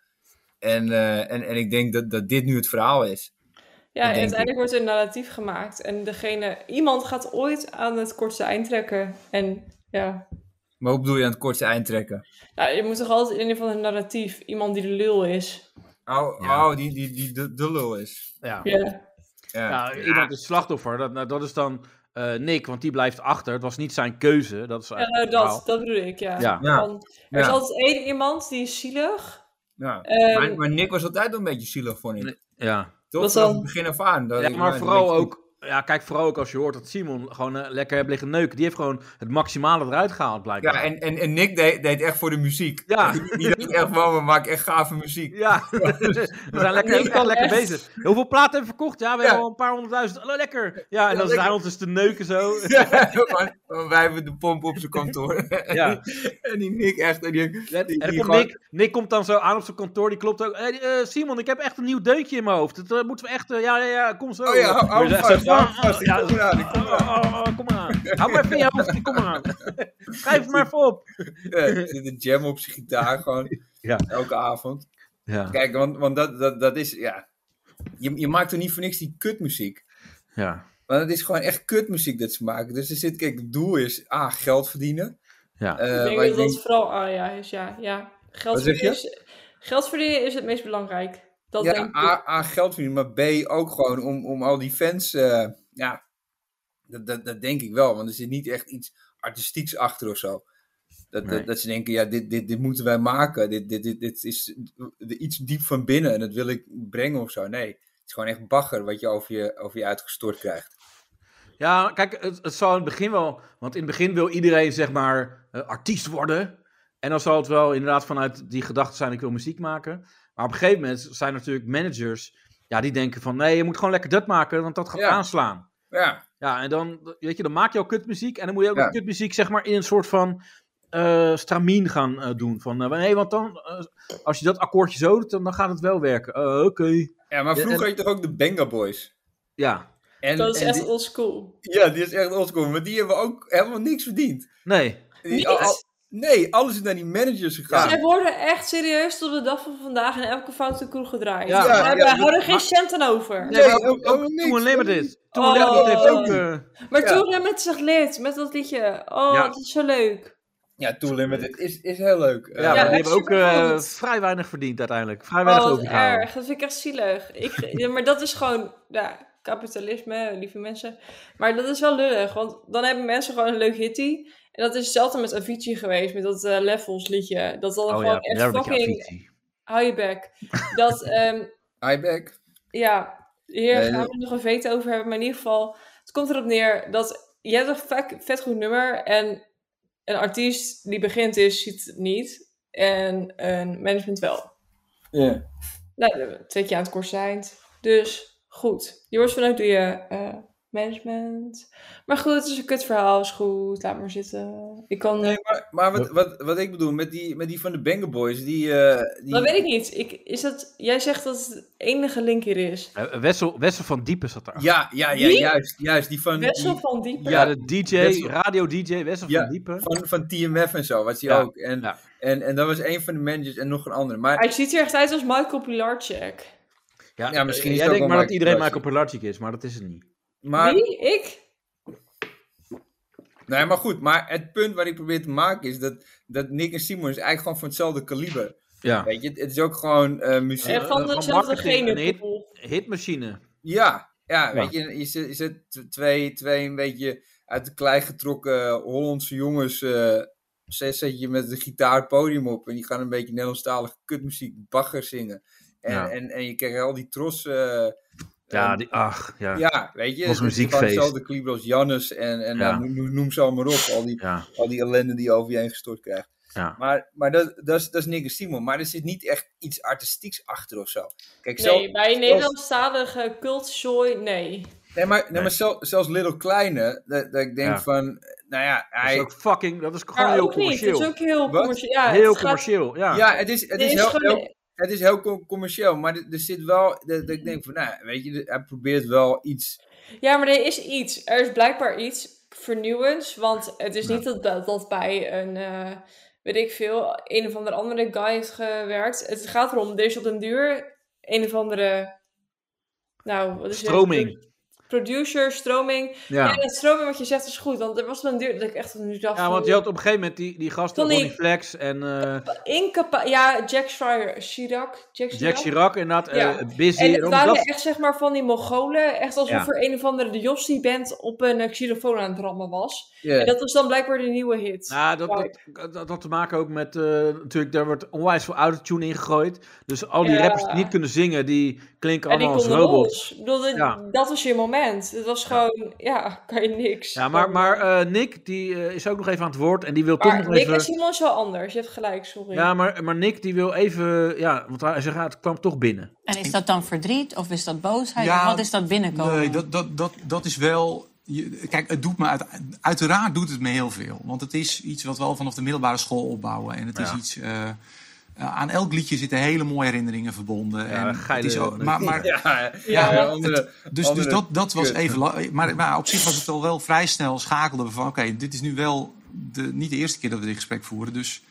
En, eh, en, en ik denk dat, dat dit nu het verhaal is.
Ja, en
denk
uiteindelijk wordt er een narratief gemaakt. En degene, iemand gaat ooit aan het kortste eind trekken. En ja,
Maar hoe bedoel je aan het kortste eind trekken?
nou, je moet toch altijd in ieder geval een narratief. Iemand die de lul is.
Oh, oh die, die, die de, de lul is.
ja.
Ja,
Ja.
Nou,
Ja, iemand is slachtoffer. Dat, nou, dat is dan eh, Nick, want die blijft achter. Het was niet zijn keuze. Dat is
ja
eigenlijk
nou,
het
dat,
verhaal.
dat bedoel ik, ja.
Ja.
Ja.
Van, er is
Ja.
altijd één iemand die is zielig.
Ja.
Ehm,
maar, maar Nick was altijd wel een beetje zielig, vond ik.
Nee, Ja.
Toch?
Wat
Vanaf
dan?
het begin af aan. Dat
ja,
ik-
maar
een
vooral
beetje-
ook... Ja, kijk, vooral ook als je hoort dat Simon gewoon eh, lekker heeft liggen neuken. Die heeft gewoon het maximale eruit gehaald, blijkbaar.
Ja, en, en, en Nick deed, deed echt voor de muziek.
Ja.
Die, die dacht echt, wow, we maken echt gave muziek.
Ja, we zijn lekker,
Nick,
lekker
echt.
bezig. Hoeveel platen hebben we verkocht? Ja, we
Ja.
hebben al een paar honderdduizend. Hallo, lekker. Ja, en dan
lekker.
zijn we ons dus te neuken zo.
Want- want wij hebben de pomp op zijn kantoor.
Ja.
en die Nick echt. En die,
En
die-
dan
die
komt
gewoon-
Nick, Nick komt dan zo aan op zijn kantoor, die klopt ook. Hey, eh, Simon, ik heb echt een nieuw deuntje in mijn hoofd. Dat eh, moeten we echt... eh, ja, ja, ja, kom zo.
Oh ja, hou- hou
Dus
hem
echt zo,
vast, hou hem
ah,
vast. Ik
ja,
kom eraan, ik kom
Oh,
eraan.
oh, oh, kom maar aan. Hou maar even in je hoofd, ik kom maar aan. Schrijf het maar even op.
Ja, er zit een jam op zijn gitaar gewoon.
Ja.
Elke avond.
Ja,
Kijk, want, want dat, dat, dat is, ja. Je, je maakt er niet voor niks die kutmuziek.
ja,
Want het is gewoon echt kutmuziek dat ze maken. Dus er zit, kijk, het doel is, ah, geld verdienen.
ja.
Eh,
ik denk
maar
dat dat vooral ah, ja, is, ja, ja. Geld,
Wat zeg je?
verdienen is, geld verdienen is het meest belangrijk. Dat
ja, ah,
denk ik.
A, A, geld verdienen, maar B, ook gewoon om, om al die fans, eh, ja, dat, dat, dat denk ik wel. Want er zit niet echt iets artistieks achter of zo. Dat,
Nee.
dat, dat ze denken, ja, dit, dit, dit moeten wij maken. Dit, dit, dit, dit is de- iets diep van binnen en dat wil ik brengen of zo. Nee, het is gewoon echt bagger wat je over je, over je uitgestort krijgt.
ja kijk, het, het zal in het begin wel... Want in het begin wil iedereen, zeg maar, eh, artiest worden. En dan zal het wel inderdaad vanuit die gedachte zijn, ik wil muziek maken. Maar op een gegeven moment zijn er natuurlijk managers... Ja, die denken van, nee, je moet gewoon lekker dat maken, want dat gaat
Ja.
aanslaan.
Ja,
Ja, en dan, weet je, dan maak je al kutmuziek. En dan moet je ook
Ja.
nog kutmuziek, zeg maar, in een soort van eh stramien gaan eh, doen. Van, eh, nee, want dan, eh, als je dat akkoordje zo doet, dan, dan gaat het wel werken. Eh, Oké.
ja maar
Ja,
vroeger had
en-
je toch ook de Benga Boys?
Ja,
En,
dat is
en
echt
die-
oldschool.
ja, die is echt oldschool, maar die hebben ook helemaal niks verdiend.
nee.
Die-
Niks.
al- al- nee, alles is naar die managers gegaan.
Zij worden echt serieus tot de dag van vandaag in elke foute kroeg gedraaid.
Ja,
Ja,
ja,
we
ja,
houden
maar-
geen cent aan over.
Nee,
maar
ook- ook oh, niks.
Toen Unlimited. Toen
Oh.
Unlimited heeft ook... eh,
Maar
Ja.
toen met zich lid, met dat liedje. Oh,
Ja.
dat is zo leuk.
Ja, Tool Limited is, is heel leuk. Eh,
ja, maar die
echt
hebben ook eh,
supergoed.
vrij weinig verdiend uiteindelijk. Vrij
Oh,
weinig
wat
overgehouden.
erg. Dat vind ik echt zielig. Ik, ja, maar dat is gewoon, ja, kapitalisme, lieve mensen. Maar dat is wel lullig, want dan hebben mensen gewoon een leuk hittie. En dat is hetzelfde met Avicii geweest, met dat eh, Levels liedje. Dat dan
Oh
gewoon
ja,
echt
daar heb ik je
fucking,
Avicii.
hou je bek. Dat, ehm,
Hi back.
ja, Hier
Nee,
gaan
dat-
we nog een veto over hebben. Maar in ieder geval, het komt erop neer dat je hebt een vet, vet goed nummer. En een artiest die begint is, ziet het niet. En een management wel.
Ja.
Nou, dan hebben we twee keer aan het kort zijn. Dus goed. Je wordt vanuit doe je eh, management. Maar goed, het is een kut verhaal. Is goed, laat maar zitten. Ik kan...
Nee, maar, maar wat, wat, wat ik bedoel, met die, met die van de Banger Boys, die... eh, die
Dat weet ik niet. Ik, is dat, jij zegt dat het de enige link hier is.
Eh, Wessel, Wessel van Diepen zat daar.
Ja, ja, ja,
Wie?
juist, juist. Die van,
Wessel
die,
van Diepen.
Ja, de DJ,
Wessel.
radio-DJ Wessel
Ja.
van Diepen.
van, van TMF en zo, was die
Ja,
ook. En,
ja.
en, en dat was een van de managers en nog een andere. Maar
Hij ziet er echt uit als Michael Pilarczyk.
Ja, misschien is
eh,
het
Jij
ook wel
denkt maar dat
Michael
iedereen
Pilarczyk.
Michael Pilarczyk is, maar dat is het niet.
Maar,
Wie? Ik?
nee, maar goed, maar het punt waar ik probeer te maken is dat, dat Nick en Simon is eigenlijk gewoon van hetzelfde kaliber.
Ja.
Weet je, het, het is ook gewoon eh, muziek.
En
Ja.
van
van
dezelfde
marketing en hit.
genenpool.
Hitmachine.
Ja, ja, weet je, je zit, je zit t- twee, twee een beetje uit de klei getrokken Hollandse jongens. eh zet zet je met de gitaar het podium op en die gaan een beetje Nederlandstalige kutmuziek bagger zingen. En,
Ja.
en, en je krijgt al die tros. eh,
Ja,
eh,
die, ach, ja. ja.
ja, weet je.
was
het is
muziekfeest.
gewoon Hetzelfde kaliber als Jannes en, en
Ja.
nou, noem, noem ze allemaal op. Al die,
Ja,
al die ellende die je over je heen gestort krijgt. Maar, maar dat, dat, is, dat is Nick en Simon. Maar er zit niet echt iets artistieks achter of zo. Kijk, zelf,
Nee, bij Nederlandstalige cultshow, nee.
Nee, maar, nee,
Nee.
maar zelf- zelfs Little Kleine, dat, dat ik denk
Ja.
van, nou ja,
Dat is
hij...
ook fucking, dat is gewoon
Maar
heel
ook niet, het
commercieel.
is ook heel
Wat?
commercieel. Ja,
heel
het gaat-
commercieel, ja.
Ja, het is, het
er
is,
is
heel,
gewoon-
heel- het is heel com- commercieel, maar er, er zit wel, dat, dat ik denk van, nou, weet je, hij probeert wel iets.
ja, maar er is iets. Er is blijkbaar iets vernieuwends. Want het is niet dat, dat, dat bij een, eh, weet ik veel, een of andere andere guy heeft gewerkt. Het gaat erom, er is op den duur een of andere, nou, wat is het?
Stroming.
Producer, stroming. Ja,
Ja.
dat stroming wat je zegt is goed. Want er was op den duur dat ik echt nu dacht
Ja,
van,
want je had op een gegeven moment die, die gasten,
Tony.
Ronnie Flex en eh,
Incapa ja, Jack Schreier, Chirac. Jack Chirac.
Jack Chirac, inderdaad, eh
Ja.
Busy.
En
En
het
om
waren
dat-
echt zeg maar van die Mongolen. Echt alsof
Ja.
er een of andere de Jossi-band op een eh, xylofoon aan het rammen was.
Ja.
En dat was dan blijkbaar de nieuwe hit.
Nou, dat, dat, dat had te maken ook met, eh, natuurlijk, daar wordt onwijs veel autotune in gegooid. Dus al die
Ja.
rappers die niet kunnen zingen, die klinken
en die
allemaal als
konden
robots.
los. Ik bedoel, dit-
Ja.
Dat was je moment. Het was gewoon, ja, kan je niks.
Ja, maar,
Dan-
maar eh, Nick, die eh, is ook nog even aan het woord en die wil
Maar
toch nog
Nick en
even...
Simon is wel anders. Je hebt gelijk, sorry.
Ja, maar, maar Nick, die wil even, ja, want hij zegt, ah, het kwam toch binnen.
En is dat dan verdriet of is dat boosheid?
Ja,
of wat is dat binnenkomen?
Nee, dat, dat, dat, dat is wel. je- kijk, het doet me uit, uiteraard doet het me heel veel. Want het is iets wat we al vanaf de middelbare school opbouwen. En het is
Ja.
iets. eh, eh, aan elk liedje zitten hele mooie herinneringen verbonden. en
geile-
het is ook, maar, maar,
Ja,
Ja,
ja,
maar
andere-
dus, dus
andere-
dat, dat was
kut.
even lang. Maar, maar op zich was het al wel vrij snel schakelden we van... oké, dit is nu wel de, niet de eerste keer dat we dit gesprek voeren. Dus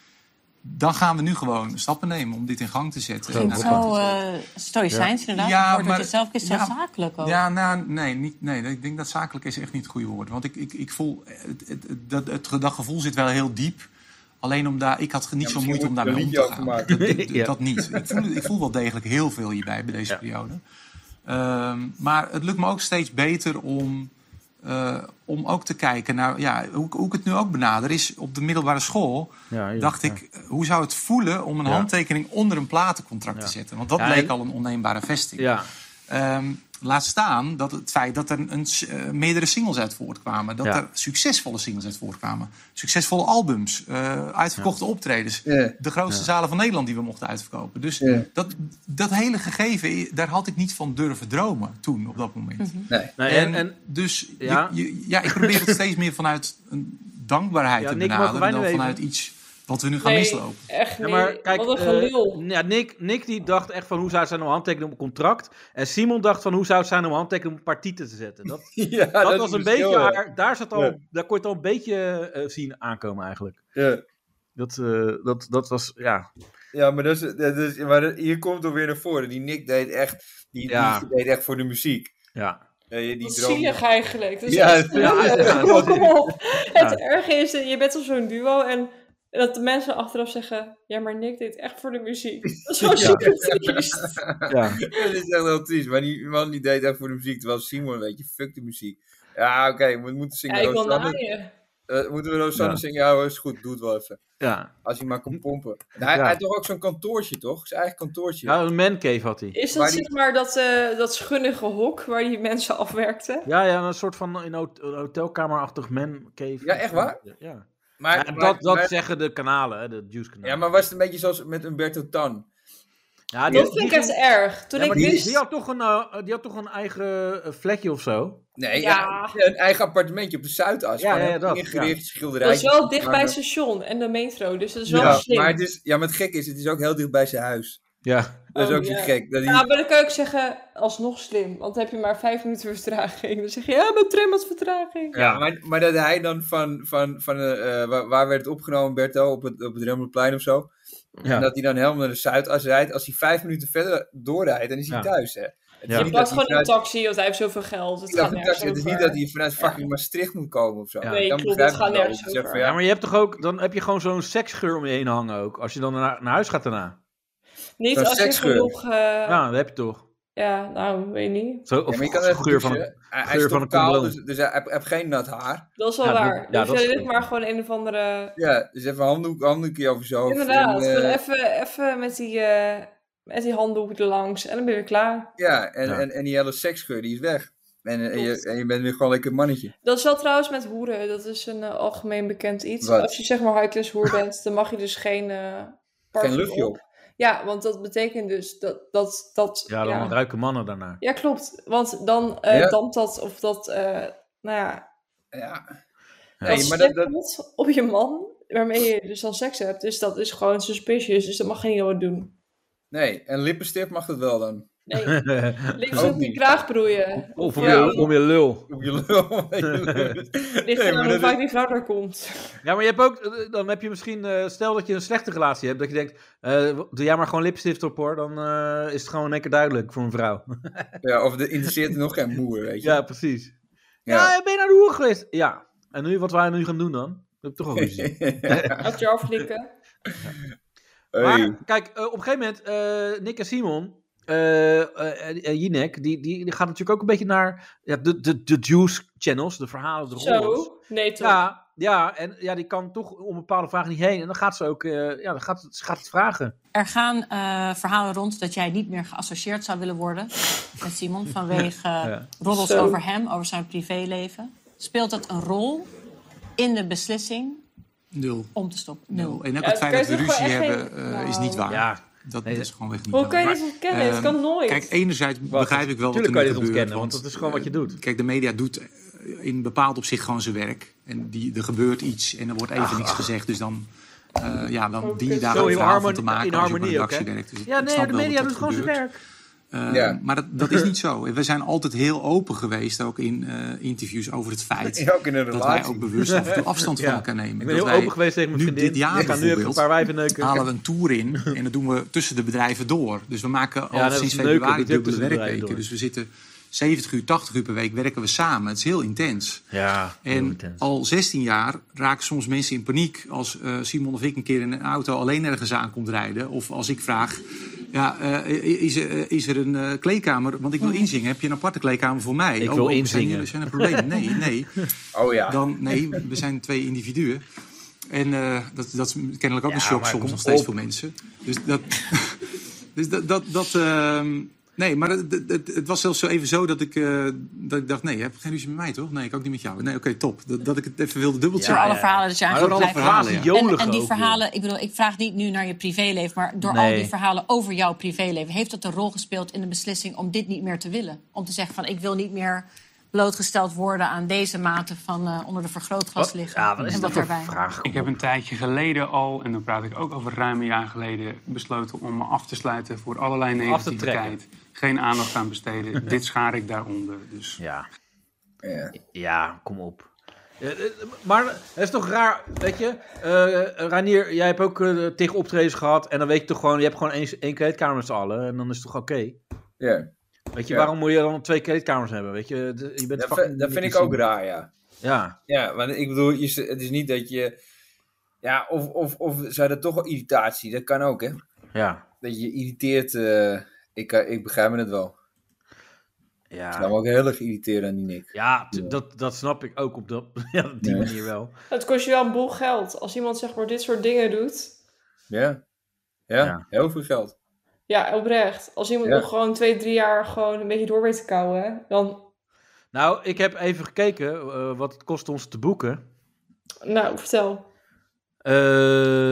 dan gaan we nu gewoon stappen nemen om dit in gang te zetten.
Ik vind het
En dan-
zo eh stoïcijns inderdaad.
Ja,
Ja, maar,
maar-
het zelf is zo
ja,
zakelijk ook.
Ja, nou, nee, niet, nee, ik denk dat zakelijk is echt niet het goede woord. Want ik, ik, ik voel, het, het, het- dat, het, dat gevoel zit wel heel diep. Alleen om daar, ik had niet
Ja,
zo moeite om
misschien
daarmee om
moet
te
ik
gaan.
er een
Dat,
liedje
maken.
dat-
Ja.
dat niet. Ik voel, ik voel wel degelijk heel veel hierbij, bij deze
Ja.
periode. Ehm, maar het lukt me ook steeds beter om, eh, om ook te kijken naar... Ja, hoe, ik- hoe ik het nu ook benader is, op de middelbare school...
Ja, ja,
dacht
ja.
ik, hoe zou het voelen om een
Ja.
handtekening onder een platencontract
Ja.
te zetten? Want dat
Ja,
bleek
en-
al een onneembare vesting.
Ja,
Ehm, laat staan dat het feit dat er een, s- eh, meerdere singles uit voortkwamen. Dat
Ja.
er succesvolle singles uit voortkwamen. Succesvolle albums, eh, uitverkochte optredens.
Ja.
De grootste zalen van Nederland die we mochten uitverkopen. Dus
Ja.
dat, dat hele gegeven, i- daar had ik niet van durven dromen toen, op dat moment.
Nee.
Nee, Hm. en,
En,
en
dus je-
ja.
je, ja, ik probeer het steeds meer vanuit een dankbaarheid
Ja,
te
Nick, mogen wij
benaderen. Dan
nu even?
vanuit iets wat we nu gaan
Nee,
mislopen.
echt
Ja,
niet.
maar kijk,
Wat een
eh,
gelul.
ja, Nick, Nick die dacht echt van hoe zou het zijn om een handtekening op een contract. En Simon dacht van hoe zou het zijn om een handtekening op een paar titels te zetten. Dat,
Ja,
dat, dus
is
was een
verschil,
beetje
hè.
haar, daar, zat al,
Ja.
daar kon je het al een beetje eh, zien aankomen eigenlijk.
Ja.
Dat, eh, dat, dat was, ja.
Ja, maar, dat is, dat is, maar dat- hier komt er weer naar voren. Die Nick deed echt, die,
Ja.
die deed echt voor de muziek.
ja.
Eh, die
Wat
droom.
zielig eigenlijk. Dat is
Ja,
echt
het- ja,
het-
zielig.
ja, het-
Kom op.
ja.
Het erge is, dat je bent al zo'n duo en dat de mensen achteraf zeggen... Ja, maar Nick deed echt voor de muziek. Dat is gewoon super triest.
ja.
Dat is echt heel triest. Maar die man die deed echt voor de muziek. Terwijl Simon, weet je, fuck de muziek. Ja, oké, we moeten
Ja,
zingen.
ik
Roos
wil
Sanders.
naaien.
Eh, moeten we nou
Ja.
samen zingen? Ja, hoor, is goed, doe het wel even.
Ja,
Als hij maar kan pompen. En hij,
Ja.
hij had toch ook zo'n kantoortje, toch? Zijn eigen kantoortje.
ja een mancave had hij.
Is dat
Maar die-
zeg maar dat, eh, dat schunnige hok waar die mensen afwerkten?
Ja, ja, een soort van in hot- een hotelkamerachtig mancave.
Ja, echt waar?
Ja. ja.
Maar,
Ja,
maar-
dat dat
maar-
zeggen de kanalen, hè, de Juice-kanalen.
ja, maar was het een beetje zoals met Umberto Tan?
Ja, die-
Dat vind ik
die-
echt erg. Toen
Ja,
ik
maar die-
wist...
Die had toch een, eh, die had toch een eigen eh, vlekje of zo?
Nee,
Ja.
ja, een eigen appartementje op de Zuidas.
Ja,
gewoon
ja,
een
dat,
ingericht
Dat is
schilderijtje.
wel dicht bij
Maar-
het station en de metro, dus dat is wel
Ja,
slim.
maar het is, ja, maar het gek is, het is ook heel dicht bij zijn huis.
Ja.
Dat is
Oh,
ook zo
ja.
gek. Dat hij,
Ja, maar dan kan ik zeggen, alsnog slim. Want dan heb je maar vijf minuten vertraging. Dan zeg je, ja, mijn tram had vertraging.
Ja, maar, maar dat hij dan van, van, van eh, eh, waar, waar werd het opgenomen, Berto, op het, op het Rembrandtplein of zo. En
ja.
dat hij dan helemaal naar de Zuidas rijdt. Als hij vijf minuten verder doorrijdt, dan is hij
Ja.
thuis, hè. Het is
Ja.
niet
Je
dat
pakt
hij
gewoon een
vanuit-
taxi, want hij heeft zoveel geld. Het
Ik dacht
gaat
een
nergens
taxi. Het is
over.
niet dat hij vanuit fucking Maastricht moet komen of zo.
Ja.
Ja.
Nee,
klopt,
begrijp
het
ik
gaat
wel.
nergens
Je zegt van,
over.
ja,
Ja, maar je hebt toch ook, dan heb je gewoon zo'n seksgeur om je heen hangen ook. Als je dan naar, naar huis gaat daarna.
Niet
Zo'n
als je
seksgeur.
genoeg... eh,
Ja, dat heb je toch.
Ja, nou, weet niet.
Zo, of
ja, maar je kan
zo'n
even
geur van.
douchen. Hij- Hij
geur
is
van
toch
een
kaal,
condoom.
dus, dus hij hij heeft geen nat haar.
Dat is wel
Ja, dat-
waar.
ja,
dus
dat
je
is-
hebt maar gewoon een of andere...
Ja, dus even een handdoek, handdoekje over zijn hoofd.
Inderdaad,
En,
gewoon
eh,
even, even met die... eh, met die handdoek erlangs en dan ben je weer klaar.
ja, en,
Ja.
En, en die hele seksgeur, die is weg. En, eh, en
Klopt.
je, en je bent weer gewoon lekker mannetje.
Dat is wel trouwens met hoeren. Dat is een eh, algemeen bekend iets.
Wat?
Als je zeg maar high-class hoer bent, dan mag je dus geen... eh parfum
Geen luchtje
op.
op.
Ja, want dat betekent dus dat... dat, dat
Ja, dan ruiken mannen daarna.
Ja, klopt. Want dan eh
Ja.
dampt dat of dat, eh, nou ja,
Ja.
Nee,
dat
maar dat- dat-
stempelt op je man waarmee je dus dan seks hebt. Dus dat is gewoon suspicious, dus dat mag geen wat doen.
Nee, en lippenstift mag dat wel dan.
Nee, links
Ook
op je
niet.
kraag broeien.
Of om,
Ja.
je, om je lul.
Op je lul. weet je.
Ligt
Nee,
eraan
maar
hoe
dat
vaak
is-
die vrouw daar komt.
Ja, maar je hebt ook, eh, dan heb je misschien, eh, stel dat je een slechte relatie hebt, dat je denkt, eh, doe jij maar gewoon lipstift op hoor, dan eh, is het gewoon in één keer duidelijk voor een vrouw.
Ja, of er interesseert er nog geen moer, weet je.
Ja, precies. Ja,
Ja.
ben je naar de hoer geweest? Ja. En nu, wat wij nu gaan doen dan? Dat heb ik toch al gezien.
Had je afklikken.
Hey.
Maar kijk, eh, op een gegeven moment, eh, Nick en Simon, eh, eh, eh, Jinek, die, die, die gaat natuurlijk ook een beetje naar ja, de, de, de juice channels, de verhalen, de rollen.
Zo, nee toch.
Ja, ja, en ja, die kan toch om bepaalde vragen niet heen. En dan gaat ze ook, eh, ja, dan gaat, ze gaat het vragen.
Er gaan eh, verhalen rond dat jij niet meer geassocieerd zou willen worden met Simon vanwege eh,
Ja.
roddels
Zo.
over hem, over zijn privéleven. Speelt dat een rol in de beslissing
Nul.
om te stoppen?
Nul. En ook
Ja,
het feit
kan
dat
je
we
toch wel
ruzie
echt
hebben
geen-
eh, is
Nou.
niet waar.
Ja,
Dat
Nee,
is gewoon weg niet
Hoe
waar.
kan je
Maar-
dit ontkennen? het
Ehm,
kan nooit.
Kijk, enerzijds begrijp ik wel wat er
Tuurlijk
nu
kan je dit
gebeurt,
ontkennen, want dat is gewoon wat je doet.
Kijk, de media doet eh, in bepaald opzicht gewoon zijn werk. En die, er gebeurt iets en er wordt even niks gezegd. Dus dan, eh, ja, dan die daar
Ah. Zo
een
in
verhaal van
harmonie-
te maken
in
als je op een
harmonie ook, hè?
redactie werkt. Dus ik-
Oh, ja
ik
nee,
snap
de
wel dat
media
dat
doet gewoon zijn
gebeurt.
werk.
Eh,
Ja.
Maar dat, dat is niet zo. We zijn altijd heel open geweest, ook in eh, interviews, over het feit...
Ja, ook in een
dat wij
relatie.
ook bewust af en toe afstand van
Ja.
elkaar nemen.
Ik ben
Dat
heel
wij-
open geweest tegen mijn
nu
vriendin.
dit jaar
ik ga nu even een
bijvoorbeeld
paar wijven
eh,
neuken.
halen we een tour in en dat doen we tussen de bedrijven door. Dus we maken al
net als
sinds
neuken,
februari
dat doe ik
dubbele
tussen de bedrijven door.
werkweken. Dus we zitten 70 uur, 80 uur per week werken we samen. Het is heel intens.
Ja, heel
En
intens.
al 16 jaar raken soms mensen in paniek als eh, Simon of ik een keer in een auto alleen ergens aan komt rijden. Of als ik vraag, ja, eh, is, er, eh, is er een eh, kleedkamer? Want ik wil inzingen. Heb je een aparte kleedkamer voor mij?
Oh. Ik
Oh,
wil
oh, zijn
inzingen.
jullie- Zijn er problemen? Nee, nee.
Oh ja.
Dan, nee, we zijn twee individuen. En eh, dat, dat is kennelijk ook
Ja,
een shock
maar
soms
kom
nog steeds
op.
voor mensen. Dus dat. dus dat. dat, dat ehm, nee, maar het, het- het- het was zelfs zo even zo dat ik, eh, dat ik dacht: nee, je hebt geen ruzie met mij toch? Nee, ik ook niet met jou. Nee, oké, top. Dat, dat ik het even wilde dubbelchecken.
Door alle
ja.
verhalen dat je
Maar
eigenlijk
door alle
blijft-
verhalen, ja.
En,
Jolige
en die
ook, joh.
verhalen, ik bedoel, ik vraag niet nu naar je privéleven, maar door al
Nee.
die verhalen over jouw privéleven, heeft dat een rol gespeeld in de beslissing om dit niet meer te willen? Om te zeggen van, ik wil niet meer blootgesteld worden aan deze mate van eh, onder de vergrootglas
Wat?
liggen.
Ja, wat is
en
dat
wat
voor
daarbij.
vraag?
Ik heb een tijdje geleden al, en dan praat ik ook over ruim een jaar geleden, besloten om me af te sluiten voor allerlei
Af te
negativiteit. Geen aandacht aan besteden. Dit schaar ik daaronder. Dus
Ja,
Ja.
ja, kom op. Ja, eh, Maar het is toch raar, weet je? eh Ranier, jij hebt ook eh, tegen optredens gehad. En dan weet je toch gewoon, je hebt gewoon één, één kleedkamer met z'n allen. En dan is het toch oké?
Ja.
Weet je,
Ja.
waarom moet je dan twee kleedkamers hebben? Weet je, De- je bent
Dat,
fucking
vind- dat vind ik
Nicky
ook
Simon.
raar, ja.
Ja,
Ja, want ik bedoel, je, z- het is niet dat je. Ja, of, of, of zou dat toch wel irritatie? Dat kan ook, hè?
ja.
Dat je irriteert. eh, ik, eh, ik begrijp me het wel. Ik
Ja,
zou me ook heel erg irriteren aan die Nick.
ja t- dat, dat snap ik ook op dat, ja, op die
Ja.
manier wel.
Het kost je wel een boel geld. Als iemand zeg maar dit soort dingen doet.
Ja. Ja,
Ja.
heel veel geld.
Ja, oprecht. Als iemand
Ja.
nog gewoon twee, drie jaar gewoon een beetje door weet te kouwen. Dan,
Nou, ik heb even gekeken eh, wat het kost ons te boeken.
nou, vertel.
Eh,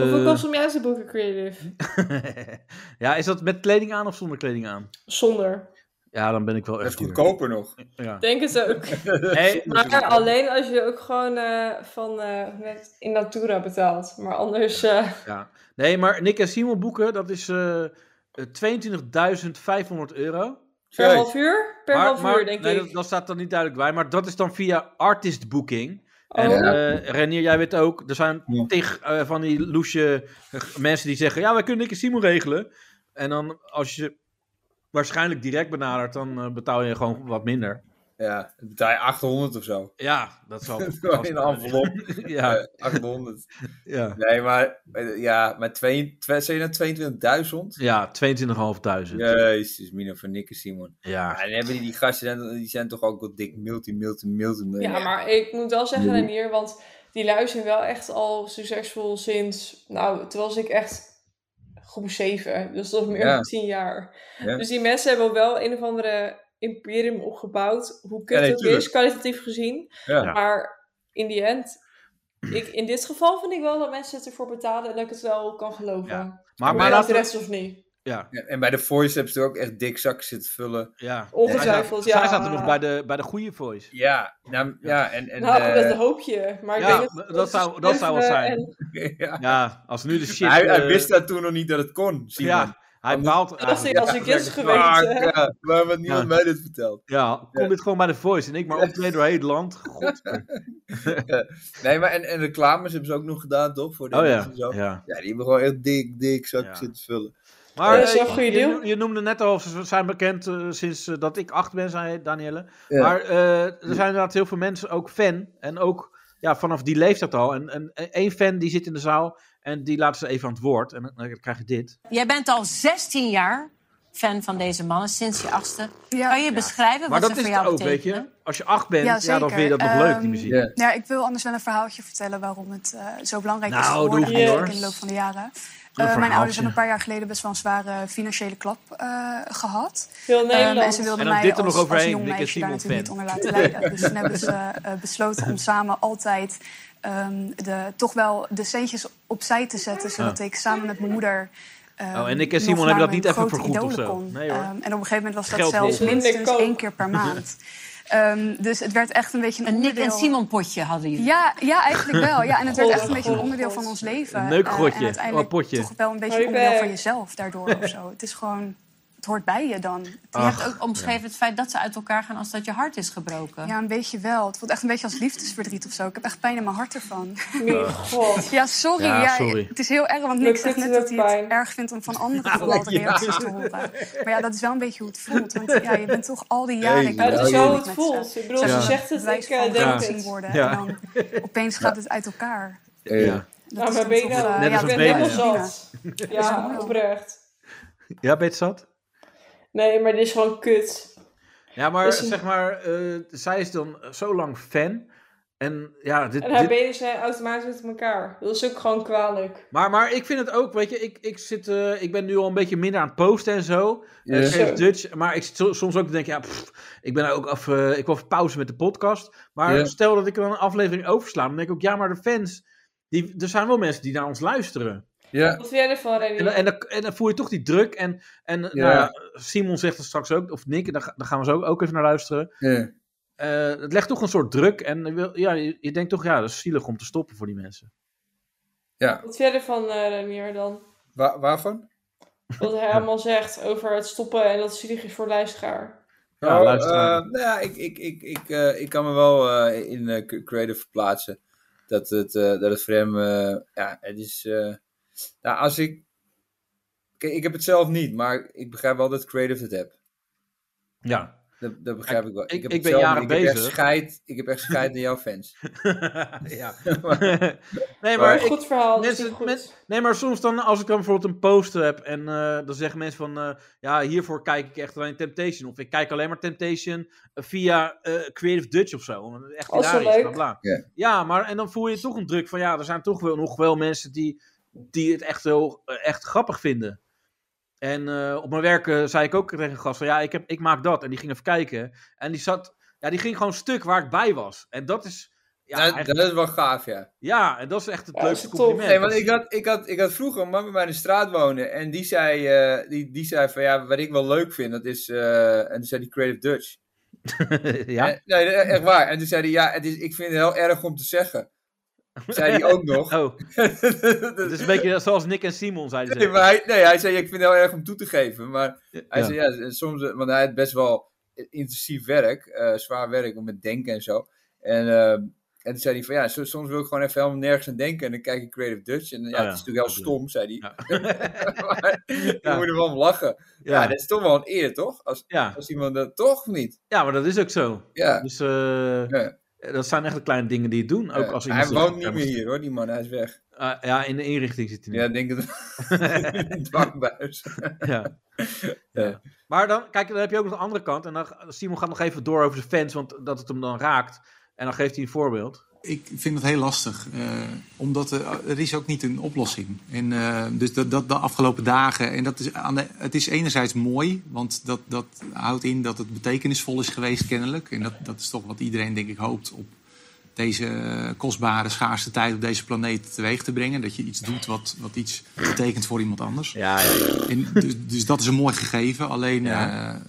Hoeveel kost om juist te boeken, Creative?
ja, is dat met kleding aan of zonder kleding aan?
Zonder.
Ja, dan ben ik wel
Dat is
echt duur.
goedkoper nog.
Ja.
Denk het ook.
Hey,
Maar alleen als je ook gewoon eh, van eh, met in natura betaalt. Maar anders... eh,
ja. Nee, maar Nick en Simon boeken, dat is eh, eh, 22.500 euro.
Per
Jeez.
half uur? Per
maar,
half
maar-
uur, denk
nee,
ik.
Dat, dat staat dan niet duidelijk bij, maar dat is dan via artist booking. En
Oh,
Ja.
eh, Renier, jij weet ook, er zijn
Ja.
tig eh, van die loesje eh, mensen die zeggen, ja, wij kunnen Nick en Simon regelen. En dan als je waarschijnlijk direct benadert, dan eh, betaal je gewoon wat minder.
Ja, dan betaal je 800 of zo.
Ja, dat zal
Gewoon in een envelop.
ja,
Eh, 800.
ja.
Nee, maar, eh, ja, maar twee, twee, zei je nou 22.000?
ja 22.500. Ja.
Jezus, Mina van Nick en Simon. Ja,
Ja.
en hebben die, die gasten zijn, die zijn toch ook wel dik multi, multi, multi.
Ja, maar ik moet wel zeggen, Renier, want die lui zijn wel echt al succesvol sinds, nou, toen was ik echt groep 7, dus dat is meer
Ja.
dan 10 jaar.
Ja.
Dus die mensen hebben wel een of andere imperium opgebouwd, hoe kut
Ja, nee,
het ook
tuurlijk.
is, kwalitatief gezien.
Ja.
Maar in die end, ik, in dit geval vind ik wel dat mensen het ervoor betalen en dat ik het wel kan geloven.
Ja.
Maar,
Maar, maar
maar
laten
de
we...
rest of niet.
Ja,
Ja, En bij de voice hebben ze er ook echt dik zakken zitten vullen.
ja.
Ongetwijfeld,
Zij
ja.
zaten nog bij de, bij de goede voice.
Ja, nou, ja en... en
Nou,
eh,
dat hoop je. Maar ik
Ja,
denk dat,
dat zou- dat zou wat
eh,
zijn.
en-
ja.
Ja, als nu de shit...
Maar hij, hij
eh,
wist dat toen nog niet dat het kon, Simon.
Ja, hij baalt
Als ik,
eigenlijk.
als ik is geweest.
Fuck,
eh.
ja, waarom had niemand
Ja.
mij dit verteld?
Ja, kom dit gewoon bij de voice en ik maar optreden door heel het land. God. Oh
Nee, maar en, en reclames hebben ze ook nog gedaan, toch? Voor de
Oh
mensen
ja,
en zo.
ja.
Ja, die hebben gewoon echt dik, dik zakken
Ja.
zitten vullen.
Maar
Dat is wel
eh,
een goede
je,
deal.
je noemde net al, ze zijn bekend eh, sinds eh, dat ik acht ben, zei Danielle.
Ja.
Maar eh, er zijn inderdaad heel veel mensen ook fan. En ook ja, vanaf die leeftijd al. En en- en één fan die zit in de zaal en die laat ze even aan het woord. En dan, dan krijg je dit.
Jij bent al 16 jaar fan van deze mannen, sinds je achtste.
Ja.
Kan je beschrijven
Maar
wat
dat
ze
is
voor
het
jou
ook, weet je.
betekenen?
Als je acht bent,
Ja,
ja, dan
zeker.
vind je dat nog leuk, die
Ehm,
muziek.
ja.
Ja, ik wil anders wel een verhaaltje vertellen waarom het eh, zo belangrijk
Nou,
is
dat
geworden
hoeft niet,
eigenlijk
hoor.
in de loop van de jaren.
Doe een
Eh, mijn
verhaaltje.
ouders hebben een paar jaar geleden best wel een zware financiële klap eh, gehad.
Heel Nederland.
Ehm, en ze wilden
En dan
mij
dit er
als,
nog
als
overheen,
jong
Nick en
meisje daar
Simon
natuurlijk niet onder laten leiden. Dus toen hebben ze eh, besloten om samen altijd ehm, de, toch wel de centjes opzij te zetten. Zodat ik samen met mijn moeder... ehm,
Ah. Oh, en Nick en
nog
Simon hebben
naar
dat
mijn
niet even
grote
vergoed of
idolen
zo.
kon.
Nee, hoor.
Ehm, en op een gegeven moment was dat
Geld
zelfs
niet.
minstens
Nick ook.
één keer per maand. Ehm, dus het werd echt een beetje een
Een Nick en
onderdeel-
Simon potje hadden jullie.
ja, ja, eigenlijk wel. Ja, en het werd
Oh,
echt een beetje een
God.
onderdeel van ons leven.
Een neukgrotje.
Eh, en uiteindelijk
Oh, potje.
toch wel een beetje een
Hoi,
onderdeel
Beck.
van jezelf daardoor of zo. Het is gewoon, het hoort bij je dan.
Je hebt ook omschreven het feit dat ze uit elkaar gaan als dat je hart is gebroken.
Ja, een beetje wel. Het voelt echt een beetje als liefdesverdriet of zo. Ik heb echt pijn in mijn hart ervan.
Mijn god.
Ja, sorry.
Ja,
Ja,
sorry.
Het is heel erg, want
Lukt
Nick zegt
het
net
je
dat
ook
hij het
pijn?
erg vindt om van anderen vooral de reacties te horen. Maar ja, dat is wel een beetje hoe het voelt. Want ja, je bent toch al die jaren...
Nee,
ik
Ja,
ben
dat is
Ja,
wel
joh.
hoe
natuurlijk
het
met ze.
voelt. Ik bedoel,
Ze
ze
Ja.
zegt het,
wijs
ik
van
eh, denk
elkaar
het.
zien worden.
Ja.
En dan opeens gaat het uit elkaar.
Ja.
Dat
Nou,
is
maar
dan
ben je
toch,
nou-
eh,
Net
ja,
als
dat
een
Ik ben
blijft
helemaal
baby.
prima.
zat. Ja,
wel.
oprecht.
Ja, ben je het zat?
Nee, maar dit is gewoon kut.
Ja, maar
Dus-
zeg maar, eh, zij is dan zo lang fan. En ja, dit,
En haar
dit-
benen zijn automatisch met elkaar. Dat is ook gewoon kwalijk.
Maar, maar ik vind het ook, weet je, ik, ik, zit, eh, ik ben nu al een beetje minder aan het posten en zo.
Ja.
Eh, Safe
Zo.
Dutch, maar ik zit so- soms ook te denken, ja, pff, ik ben ook af, eh, ik wil even pauze met de podcast. Maar
Ja.
stel dat ik dan een aflevering oversla, dan denk ik ook, ja, maar de fans, die, er zijn wel mensen die naar ons luisteren.
Ja,
Wat vind jij ervan, Renny?
En, dan- en, dan, en dan voel je toch die druk. En, en nou ja, Simon zegt het straks ook, of Nick, en daar, ga- daar gaan we zo ook even naar luisteren.
ja.
Eh, het legt toch een soort druk. En je wil- ja, je, je denkt toch, ja, dat is zielig om te stoppen voor die mensen.
Wat vind jij ervan, eh, Renier, dan?
Wa- waarvan?
Wat hij allemaal zegt over het stoppen en dat het zielig is voor de luisteraar.
Ja, luisteraar.
eh, nou ja, ik, ik, ik, ik, eh, ik kan me wel eh, in eh, cre- creative verplaatsen. Dat het, eh, dat het voor hem, eh, ja, het is. eh, nou, als ik. Kijk, ik heb het zelf niet, maar ik begrijp wel dat creative het heb.
Ja.
Dat, dat begrijp ik wel.
ik-
heb
ik ben
hetzelfde.
jaren
ik Heb echt
bezig.
scheid, ik heb echt scheid naar jouw fans.
ja.
Maar-
nee,
Maar
maar
Een
ik,
goed verhaal. dat is
mensen-
goed.
men- nee, maar soms dan, als ik dan bijvoorbeeld een poster heb en eh, dan zeggen mensen van, eh, ja, hiervoor kijk ik echt alleen Temptation. Of ik kijk alleen maar Temptation via eh, Creative Dutch of zo. want het is Echt
Oh, zo
hilarisch, bla
leuk.
bla.
Ja.
Ja, maar en dan voel je toch een druk van, ja, er zijn toch wel nog wel mensen die, die het echt heel eh, echt grappig vinden. En eh, op mijn werk eh, zei ik ook tegen een gast van, ja, ik, heb, ik maak dat. En die ging even kijken. En die zat, ja, die ging gewoon stuk waar ik bij was. En dat is, ja,
dat,
eigenlijk-
dat is wel gaaf, ja.
ja, en dat is echt het
Ja, dat is
leukste
top.
compliment.
Nee, want ik had, ik, had, ik had vroeger een man bij mij in de straat wonen. En die zei, eh, die, die zei van ja, wat ik wel leuk vind, dat is. eh, en toen zei die Creative Dutch.
ja?
En- nee, e- echt waar. En toen zei hij, ja, het is, ik vind het heel erg om te zeggen. Zei hij ook nog.
Oh, het is een beetje zoals Nick en Simon zeiden
nee,
ze.
maar hij, nee, hij zei, ik vind het heel erg om toe te geven. Maar hij
Ja.
zei, ja, en soms, eh, want hij had best wel intensief werk, eh, zwaar werk om met denken en zo. En, eh, en toen zei hij van, ja, so- soms wil ik gewoon even helemaal nergens aan denken. En dan kijk ik Creative Dutch. En eh, ja,
Oh ja,
het is natuurlijk
dat
heel
is
stom, zei hij.
Ja.
maar je
Ja.
moet er wel om lachen. Ja.
Ja,
dat is toch wel een eer, toch? Als,
ja.
als iemand dat toch of niet.
ja, maar dat is ook zo.
Ja.
Dus eh,
Ja.
dat zijn echt de kleine dingen die het doen. Ook
Ja.
als
hij
iemand
woont niet meer hier hoor, die man. Hij is weg.
Ah, ja, in de inrichting zit hij
Ja,
niet.
ik denk dat het dwangbuis.
Ja. Ja. Maar dan, kijk, dan heb je ook nog de andere kant. En dan, Simon gaat nog even door over zijn fans, want dat het hem dan raakt. En dan geeft hij een voorbeeld.
Ik vind het heel lastig, eh, omdat eh, er is ook niet een oplossing. En, eh, dus dat, dat de afgelopen dagen, en dat is aan de, het is enerzijds mooi, want dat, dat houdt in dat het betekenisvol is geweest kennelijk. En dat, dat is toch wat iedereen denk ik hoopt op deze eh, kostbare, schaarste tijd op deze planeet teweeg te brengen. Dat je iets doet wat, wat iets betekent voor iemand anders.
Ja, ja.
En dus, dus dat is een mooi gegeven. Alleen,
Ja.
ja,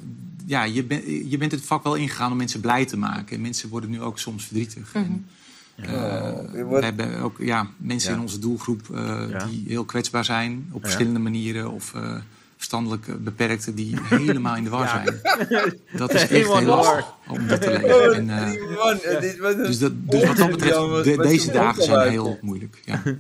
ja je, ben- je bent het vak wel ingegaan om mensen blij te maken. En mensen worden nu ook soms verdrietig. En, eh,
je wordt-
we hebben ook ja, mensen
Ja.
in onze doelgroep eh,
Ja.
die heel kwetsbaar zijn op verschillende manieren. Of eh, verstandelijk eh, beperkten die helemaal in de war
Ja.
zijn. Dat is echt
Helemaal
heel
in de war.
lastig om dat te lezen. En, eh,
Oh, Man, het is- wat een-
dus, dat, dus wat dat betreft,
Jan, wat-
de-
wat
deze
zo'n
dagen zijn
opgeluid.
heel moeilijk. Ja.
Ah,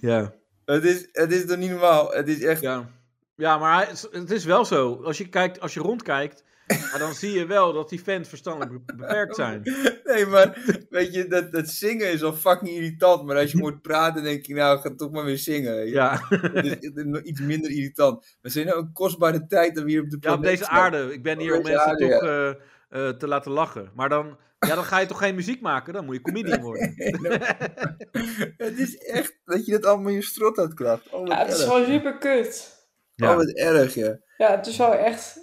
ja.
Het is, het is toch niet normaal. Het is echt...
Ja, ja maar hij- het is wel zo. Als je, kijkt, als je rondkijkt, ja, dan zie je wel dat die fans verstandelijk be- beperkt zijn.
Nee, maar weet je, dat, dat zingen is al fucking irritant. Maar als je moet praten, denk je, nou, ga toch maar weer zingen. weet je.
Ja,
Het is echt nog iets minder irritant. We zijn nou een kostbare tijd dat we hier op de
ja
planeet
op deze
staan.
aarde. Ik ben
Op
hier om
deze
mensen
aarde,
toch eh, eh, te laten lachen. Maar dan, ja, dan ga je toch geen muziek maken? Dan moet je comedian worden.
Het is echt dat je dat allemaal in je strot uitkracht. Oh, wat
Ja, het is
erg.
gewoon super kut.
Oh, wat erg, ja.
Ja, het is wel echt.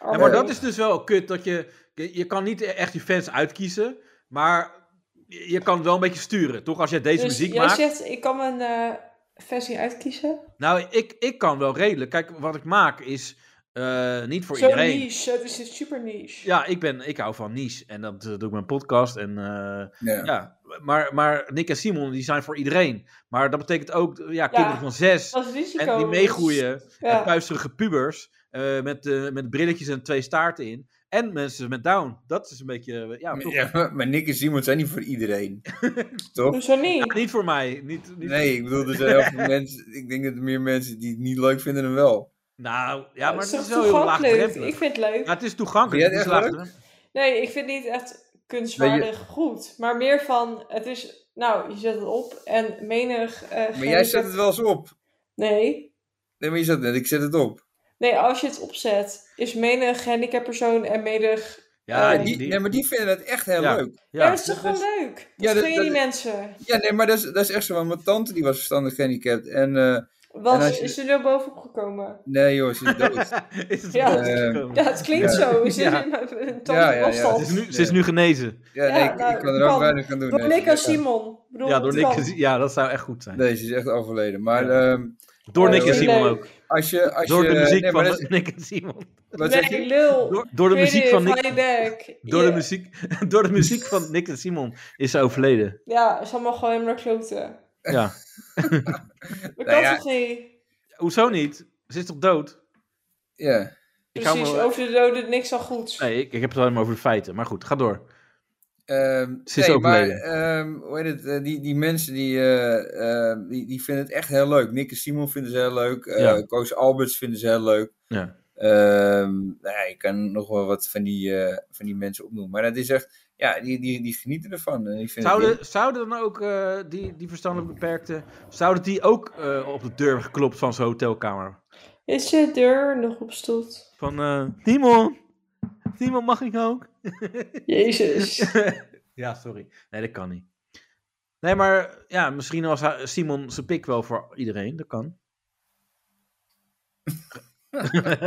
Ja, maar dat is dus wel kut. Dat je, je je kan niet echt je fans uitkiezen, maar... Je je kan wel een beetje sturen, toch? Als jij deze
Dus
muziek
jij
maakt.
zegt, ik kan mijn eh, versie uitkiezen.
Nou, ik, ik kan wel redelijk. Kijk, wat ik maak is eh, niet voor
Zo
iedereen.
niche, het is super niche.
Ja, ik, ben, ik hou van niche en dat eh, doe ik mijn podcast. En, eh,
Ja.
ja. Maar, maar Nick en Simon die zijn voor iedereen. Maar dat betekent ook eh, ja, kinderen van zes
Dat is risico.
en die meegroeien. En
Ja.
puisterige pubers eh, met, eh, met brilletjes en twee staarten in. En mensen met down. Dat is een beetje. eh, ja, toch.
Ja, maar- maar Nick en Simon zijn niet voor iedereen. toch?
Hoezo
Ja,
niet?
niet voor mij. Niet, niet...
Nee, ik bedoel, er zijn heel veel mensen. Ik denk dat er meer mensen die het niet leuk vinden dan wel.
Nou, ja, maar
het
het
is toch
is wel heel
toegankelijk?
laagdrempelig.
Ik vind het leuk.
Ja, het is toegankelijk.
Vind
Het
jij
is
het echt
laagdrempelig.
Nee, ik vind het niet echt kunstwaardig goed. Maar meer van, het is, nou, je zet het op en menig... eh,
Maar jij
gehandicapte-
zet het wel eens op.
Nee.
Nee, maar je zat net, ik zet het op.
Nee, als je het opzet, is menig gehandicapt persoon en menig...
Ja,
Eh,
Maar Ah, die,
die-
nee, maar die vinden het echt heel
Ja.
leuk.
Ja,
ja.
dat is toch wel leuk? Dat
Ja, dat-
gun je
dat-
die mensen.
Ja, nee, maar dat is, dat is echt zo. want Mijn tante die was verstandig gehandicapt. En eh, En
Wat
als je-
is er nu bovenop gekomen?
nee, joh, ze is dood. Ehm,
Is het
Ja.
doodgekomen?
Ja, het klinkt
Ja.
zo. Is er
Ja.
een
Ja,
tand
ja, ja.
op afstand?
Ze is nu- ze is nu genezen.
Ja,
Ja,
nee, ik,
nou,
ik kan er ook
kan.
weinig aan doen.
Door
nee.
Nick
Ja.
en Simon. Ik bedoel,
Ja, door
het
Oh.
Nick,
kan.
gezien- ja, dat zou echt goed zijn.
Nee, ze is echt overleden. Maar
Ja.
ehm,
Door Nick en
Vind
je
Simon
leuk?
ook.
als je... Als
Door
je,
de muziek
nee, maar
van
dat is-
Nick en Simon.
wat zeg
Nee,
je?
lul.
Door, door de muziek van Nick.
Nick.
Door de, muziek, door de muziek van Nick en Simon is ze overleden.
Ja, is allemaal gewoon helemaal naar kloten.
Ja.
Dat
Nou
kan
ja,
toch niet?
Hoezo niet? Ze is toch dood?
Ja.
Ik hou
Precies,
me-
over de doden niks al goed.
Nee, ik, ik heb het alleen maar over de feiten. Maar goed, ga door.
Ehm,
Ze is
nee, maar
overleden.
ehm, hoe heet het, eh, die, die mensen die, eh, eh, die, die vinden het echt heel leuk. Nick en Simon vinden ze heel leuk. eh
Ja.
Koos Alberts vinden ze heel leuk.
Ja.
Ehm, nou ja, ik kan nog wel wat van die, eh, van die mensen opnoemen. Maar dat is echt, ja, die, die, die genieten ervan. En ik vind het,
Zouden, zouden dan ook eh, die, die verstandelijk beperkte, zouden die ook eh, op de deur geklopt van zijn hotelkamer?
Is je deur nog op slot?
Van eh Timon, Timon mag ik ook?
Jezus.
ja, sorry. Nee, dat kan niet. Nee, maar ja, misschien was hij- Simon zijn pik wel voor iedereen. Dat kan.
Ik vind het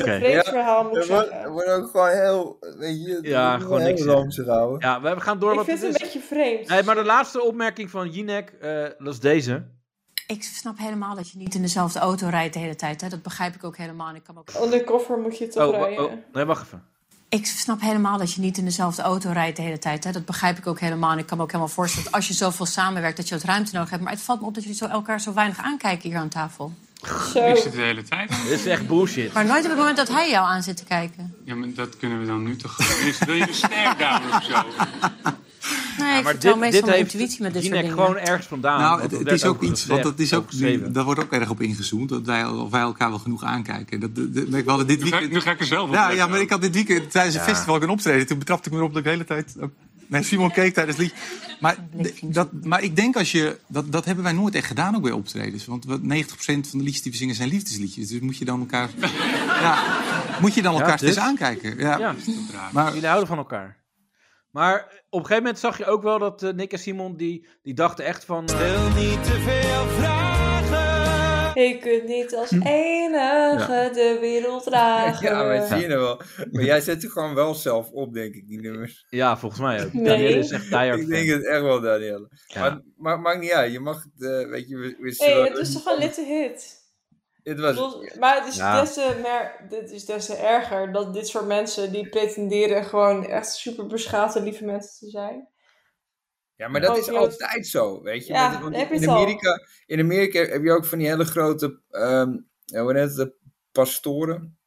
Oké.
een vreemd
Ja,
verhaal, moet ik
Er wordt, er
zeggen.
wordt ook gewoon heel, weet je,
Ja,
heel
gewoon niks
ranzig houden.
Ja, we we gaan door.
Ik
wat
vind
het
het een beetje vreemd.
Nee, maar de laatste opmerking van Jinek, eh, dat is deze.
Ik snap helemaal dat je niet in dezelfde auto rijdt de hele tijd. Hè? Dat begrijp ik ook helemaal. En ik, kan ook...
Undercover moet je toch
Oh, wa-
rijden.
oh, nee, wacht even.
ik snap helemaal dat je niet in dezelfde auto rijdt de hele tijd. Hè? Dat begrijp ik ook helemaal. En ik kan me ook helemaal voorstellen dat als je zoveel samenwerkt, dat je wat ruimte nodig hebt. Maar het valt me op dat jullie zo elkaar zo weinig aankijken hier aan tafel.
Zo.
Ik
Oh.
zit de hele tijd. aan.
Dit is echt bullshit.
Maar nooit op het moment dat hij jou aan zit te kijken.
Ja, maar dat kunnen we dan nu toch gewoon. Is- Wil je een stare-down of zo?
Nee, ik
maar
vertrouw
dit,
meestal
dit
mijn
heeft
intuïtie met dit soort
Jinek
dingen.
gewoon ergens vandaan.
Nou,
want
het,
dat
het
werd
is ook
gezegd,
iets, want dat is ook,
geschreven.
daar wordt ook erg op ingezoomd. Dat wij, of wij elkaar wel genoeg aankijken. Dat, dat, dat- we hadden dit
Nu ga, ik-
weekend,
nu ga ik er zelf op.
ja, ja,
letten.
maar ik had dit weekend tijdens het festival ook een optreden. Toen betrapte ik me erop dat ik de hele tijd... ook- Nee, Simon keek tijdens het lied. Maar, dat, maar ik denk als je... Dat, dat hebben wij nooit echt gedaan ook bij optredens. Want wat- 90% van de liedjes die we zingen zijn liefdesliedjes. Dus moet je dan elkaar... ja, moet je dan
Ja,
elkaar steeds
dus.
aankijken. Ja.
Ja,
Maar
jullie houden van elkaar. Maar eh, op een gegeven moment zag je ook wel dat eh, Nick en Simon, die, die dachten echt van... eh,
Je kunt niet als enige de wereld dragen.
Ja, maar zie je nou wel. Maar jij zet er gewoon wel zelf op, denk ik, die nummers.
ja, volgens mij ook.
Nee.
Daniel is echt diehard
Ik denk
fan.
het echt wel, Danielle.
Ja.
Maar, maar maakt niet uit, je mag het, eh, weet je, we, we
hey,
zullen-
het is toch een litte hit?
Dit
Ik
was het.
bedoel, Maar het is,
Ja.
des te meer, dit is des te erger dat dit soort mensen die pretenderen gewoon echt super beschaafde lieve mensen te zijn.
Ja, maar dat
Oh,
is
ja.
altijd zo, weet je.
Ja,
Met- want
heb je
in,
het al.
Amerika, in Amerika heb je ook van die hele grote, ehm ja, hoe heet het, pastoren.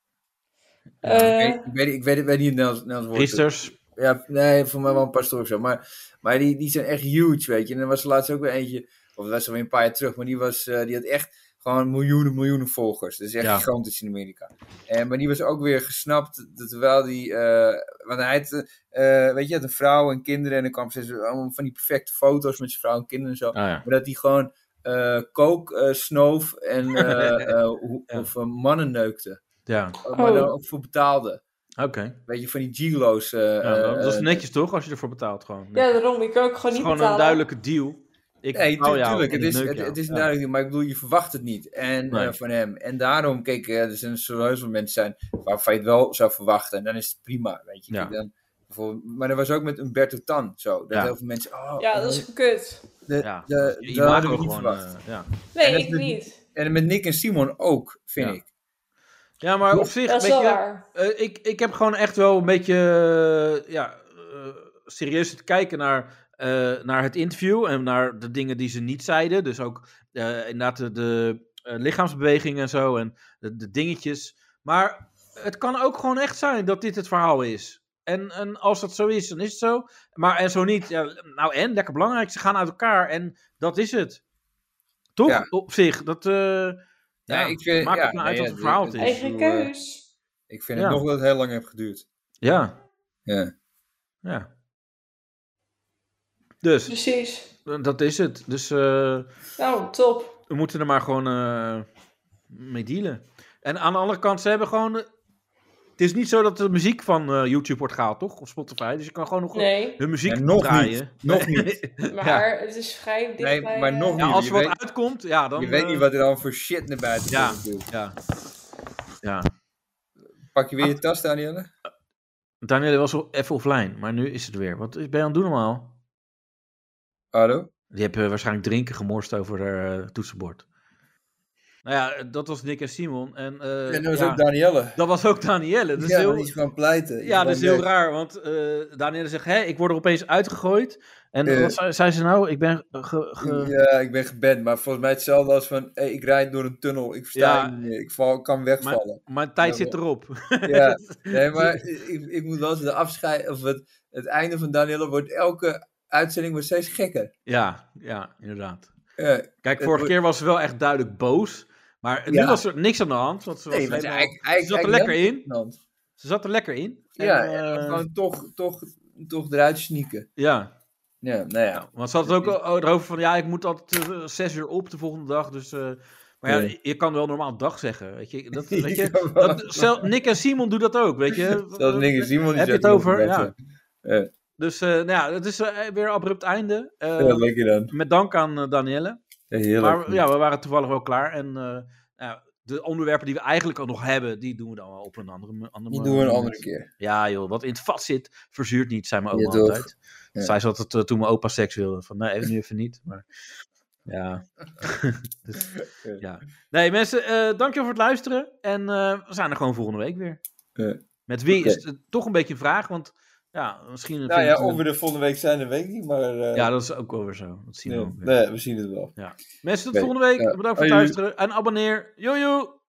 Eh,
ik, weet, ik, weet, ik weet niet het Nederlands Nederlands woord.
Priesters.
Ja, nee, voor mij wel een pastoor of zo. Maar, maar die, die zijn echt huge, weet je. En er was er laatst ook weer eentje, of dat was alweer een paar jaar terug, maar die, was, eh, die had echt gewoon miljoenen, miljoenen volgers. Dat is echt
Ja.
gigantisch in Amerika. En, maar die was ook weer gesnapt, dat terwijl die, eh, want hij had, eh, weet je, had een vrouw en kinderen en dan kwam steeds allemaal van die perfecte foto's met zijn vrouw en kinderen en zo.
Ah, ja.
Maar dat hij gewoon eh kook eh, snoof en eh, eh, hoe-
Ja.
of, eh, mannen neukte.
ja.
Maar
Oh.
daar ook voor betaalde.
oké.
Weet je, van die gigolo's. eh,
Ja, dat- dat is
eh,
netjes toch, als je ervoor betaalt gewoon. Nee.
ja, daarom. Ik kan ook gewoon
het
niet
is gewoon een
betalen.
duidelijke deal. Ik
Nee,
betaal jou
natuurlijk.
en
Het
ik
is,
neuk
het,
jou.
het is
Ja.
duidelijk, niet, maar ik bedoel, je verwacht het niet en,
Nee.
eh, van hem. En daarom, kijk, eh, er zijn serieus wel mensen zijn waarvan je het wel zou verwachten. En dan is het prima, weet je.
Ja.
Kijk, Dan, bijvoorbeeld- maar dat was ook met Umberto Tan zo. Dat
Ja.
heel veel mensen, oh,
Ja, dat is kut.
de,
Ja,
de-
dat is
dat
je
hadden
imago
we niet
gewoon.
verwacht.
eh, ja.
En
Nee,
dat
ik
is-
niet.
En met Nick en Simon ook, vind
Ja.
ik.
ja, maar op zich,
Dat is
weet
wel
je,
waar.
eh, ik, ik heb gewoon echt wel een beetje eh, ja, eh, serieus te kijken naar, eh, naar het interview en naar de dingen die ze niet zeiden. Dus ook eh, inderdaad de, de eh, lichaamsbewegingen en zo en de, de dingetjes. Maar het kan ook gewoon echt zijn dat dit het verhaal is. En, en als dat zo is, dan is het zo. Maar en zo niet, ja, nou en, lekker belangrijk, ze gaan uit elkaar en dat is het. Toch?
Ja.
Op zich, dat eh, ja,
ik vind-
maakt
ja,
het nou uit
nee,
wat het
ja,
verhaal
het-
het is.
het-
Eigen
bedoel, eh,
keus.
Ik vind
Ja.
het nog wel dat het heel lang heeft geduurd.
Ja,
Ja.
ja. Dus,
Precies.
Eh, Dat is het. Dus eh,
Nou, top.
we moeten er maar gewoon eh, mee dealen. En aan de andere kant, ze hebben gewoon. eh, het is niet zo dat de muziek van eh, YouTube wordt gehaald, toch? Of Spotify. Dus je kan gewoon nog
Nee,
hun muziek
Ja, nog
draaien.
niet. Nog niet.
maar het is vrij dicht
Nee,
bij...
maar
eh,
nog
Ja,
niet.
als
Je
er wat
weet-
uitkomt, ja, dan.
je weet niet
eh,
wat er dan voor shit naar buiten
Ja.
komt. natuurlijk.
Ja. ja.
Pak je weer je tas, Danielle?
Daniel was wel even offline, maar nu is het weer. Wat ben je aan het doen normaal?
Hallo?
Die hebben waarschijnlijk drinken gemorst over haar eh, toetsenbord. Nou ja, dat was Nick en Simon. En, eh,
en dat was
ja,
nou, ook Danielle.
dat was ook Danielle. Dus
ja,
heel,
want die is gewoon pleiten. Die
Ja, dat is
gewoon
heel
weg.
raar, want eh Danielle zegt, hé, ik word er opeens uitgegooid. En
Eh.
wat zei, zei ze nou? Ik ben ge... ge-
Ja, ik ben geband, maar volgens mij hetzelfde als van, hey, ik rijd door een tunnel, ik versta
Ja.
je niet meer, ik val, kan wegvallen.
Mijn tijd
Ja,
zit erop.
Ja, nee, maar ik, ik moet wel eens de afscheid, of het, het einde van Danielle wordt elke uitzending wordt steeds gekker.
ja, ja, inderdaad.
Ja,
Kijk,
Het
vorige
wordt-
keer was ze wel echt duidelijk boos. Maar nu
Ja.
was er niks aan de hand. Want ze, was
Nee, maar
helemaal-
eigenlijk-
ze zat
eigenlijk-
er lekker in.
Nederland.
Ze zat er lekker in.
Ja,
En,
en
eh,
gewoon toch, toch, toch eruit sneaken.
ja.
Ja, nou ja.
want ze had het ook al- erover van... Ja, ik moet altijd eh, zes uur op de volgende dag. Dus, eh, maar ja,
Ja.
je kan wel normaal dag zeggen. Weet je, dat,
Je
weet je,
kan wel-
dat, zelf, Nick en Simon doen dat ook. Weet je.
Dat dingen Simon die
Heb je
zegt nog
het over?
beter.
Dus eh, nou ja, het is eh, weer een abrupt einde. Eh,
Ja, lekker dan.
Met dank aan eh, Danielle.
Heerlijk.
Maar ja, we waren toevallig wel klaar. En eh, ja, de onderwerpen die we eigenlijk al nog hebben, die doen we dan wel op een andere mo- andere
Die doen we een
moment.
andere keer.
Ja joh, wat in het vat zit, verzuurt niet, zei mijn
Ja,
oma
toch?
altijd.
Ja.
Zij zat het eh, toen mijn opa seks wilde. Van nee, even nu even niet. Maar ja. Dus, ja. Nee mensen, eh dankjewel voor het luisteren. En eh, we zijn er gewoon volgende week weer.
Ja.
Met wie is
Oké.
het toch een beetje een vraag, want ja, misschien...
Nou
vindt-
ja, of we er volgende week zijn, dat weet ik niet, maar... eh,
ja, dat is ook wel weer zo. Dat zien we
nee,
ook weer.
nee, we zien het wel.
Mensen, tot
Oké,
volgende week.
ja.
Bedankt voor het
Hoi.
luisteren. En abonneer. Joejoe!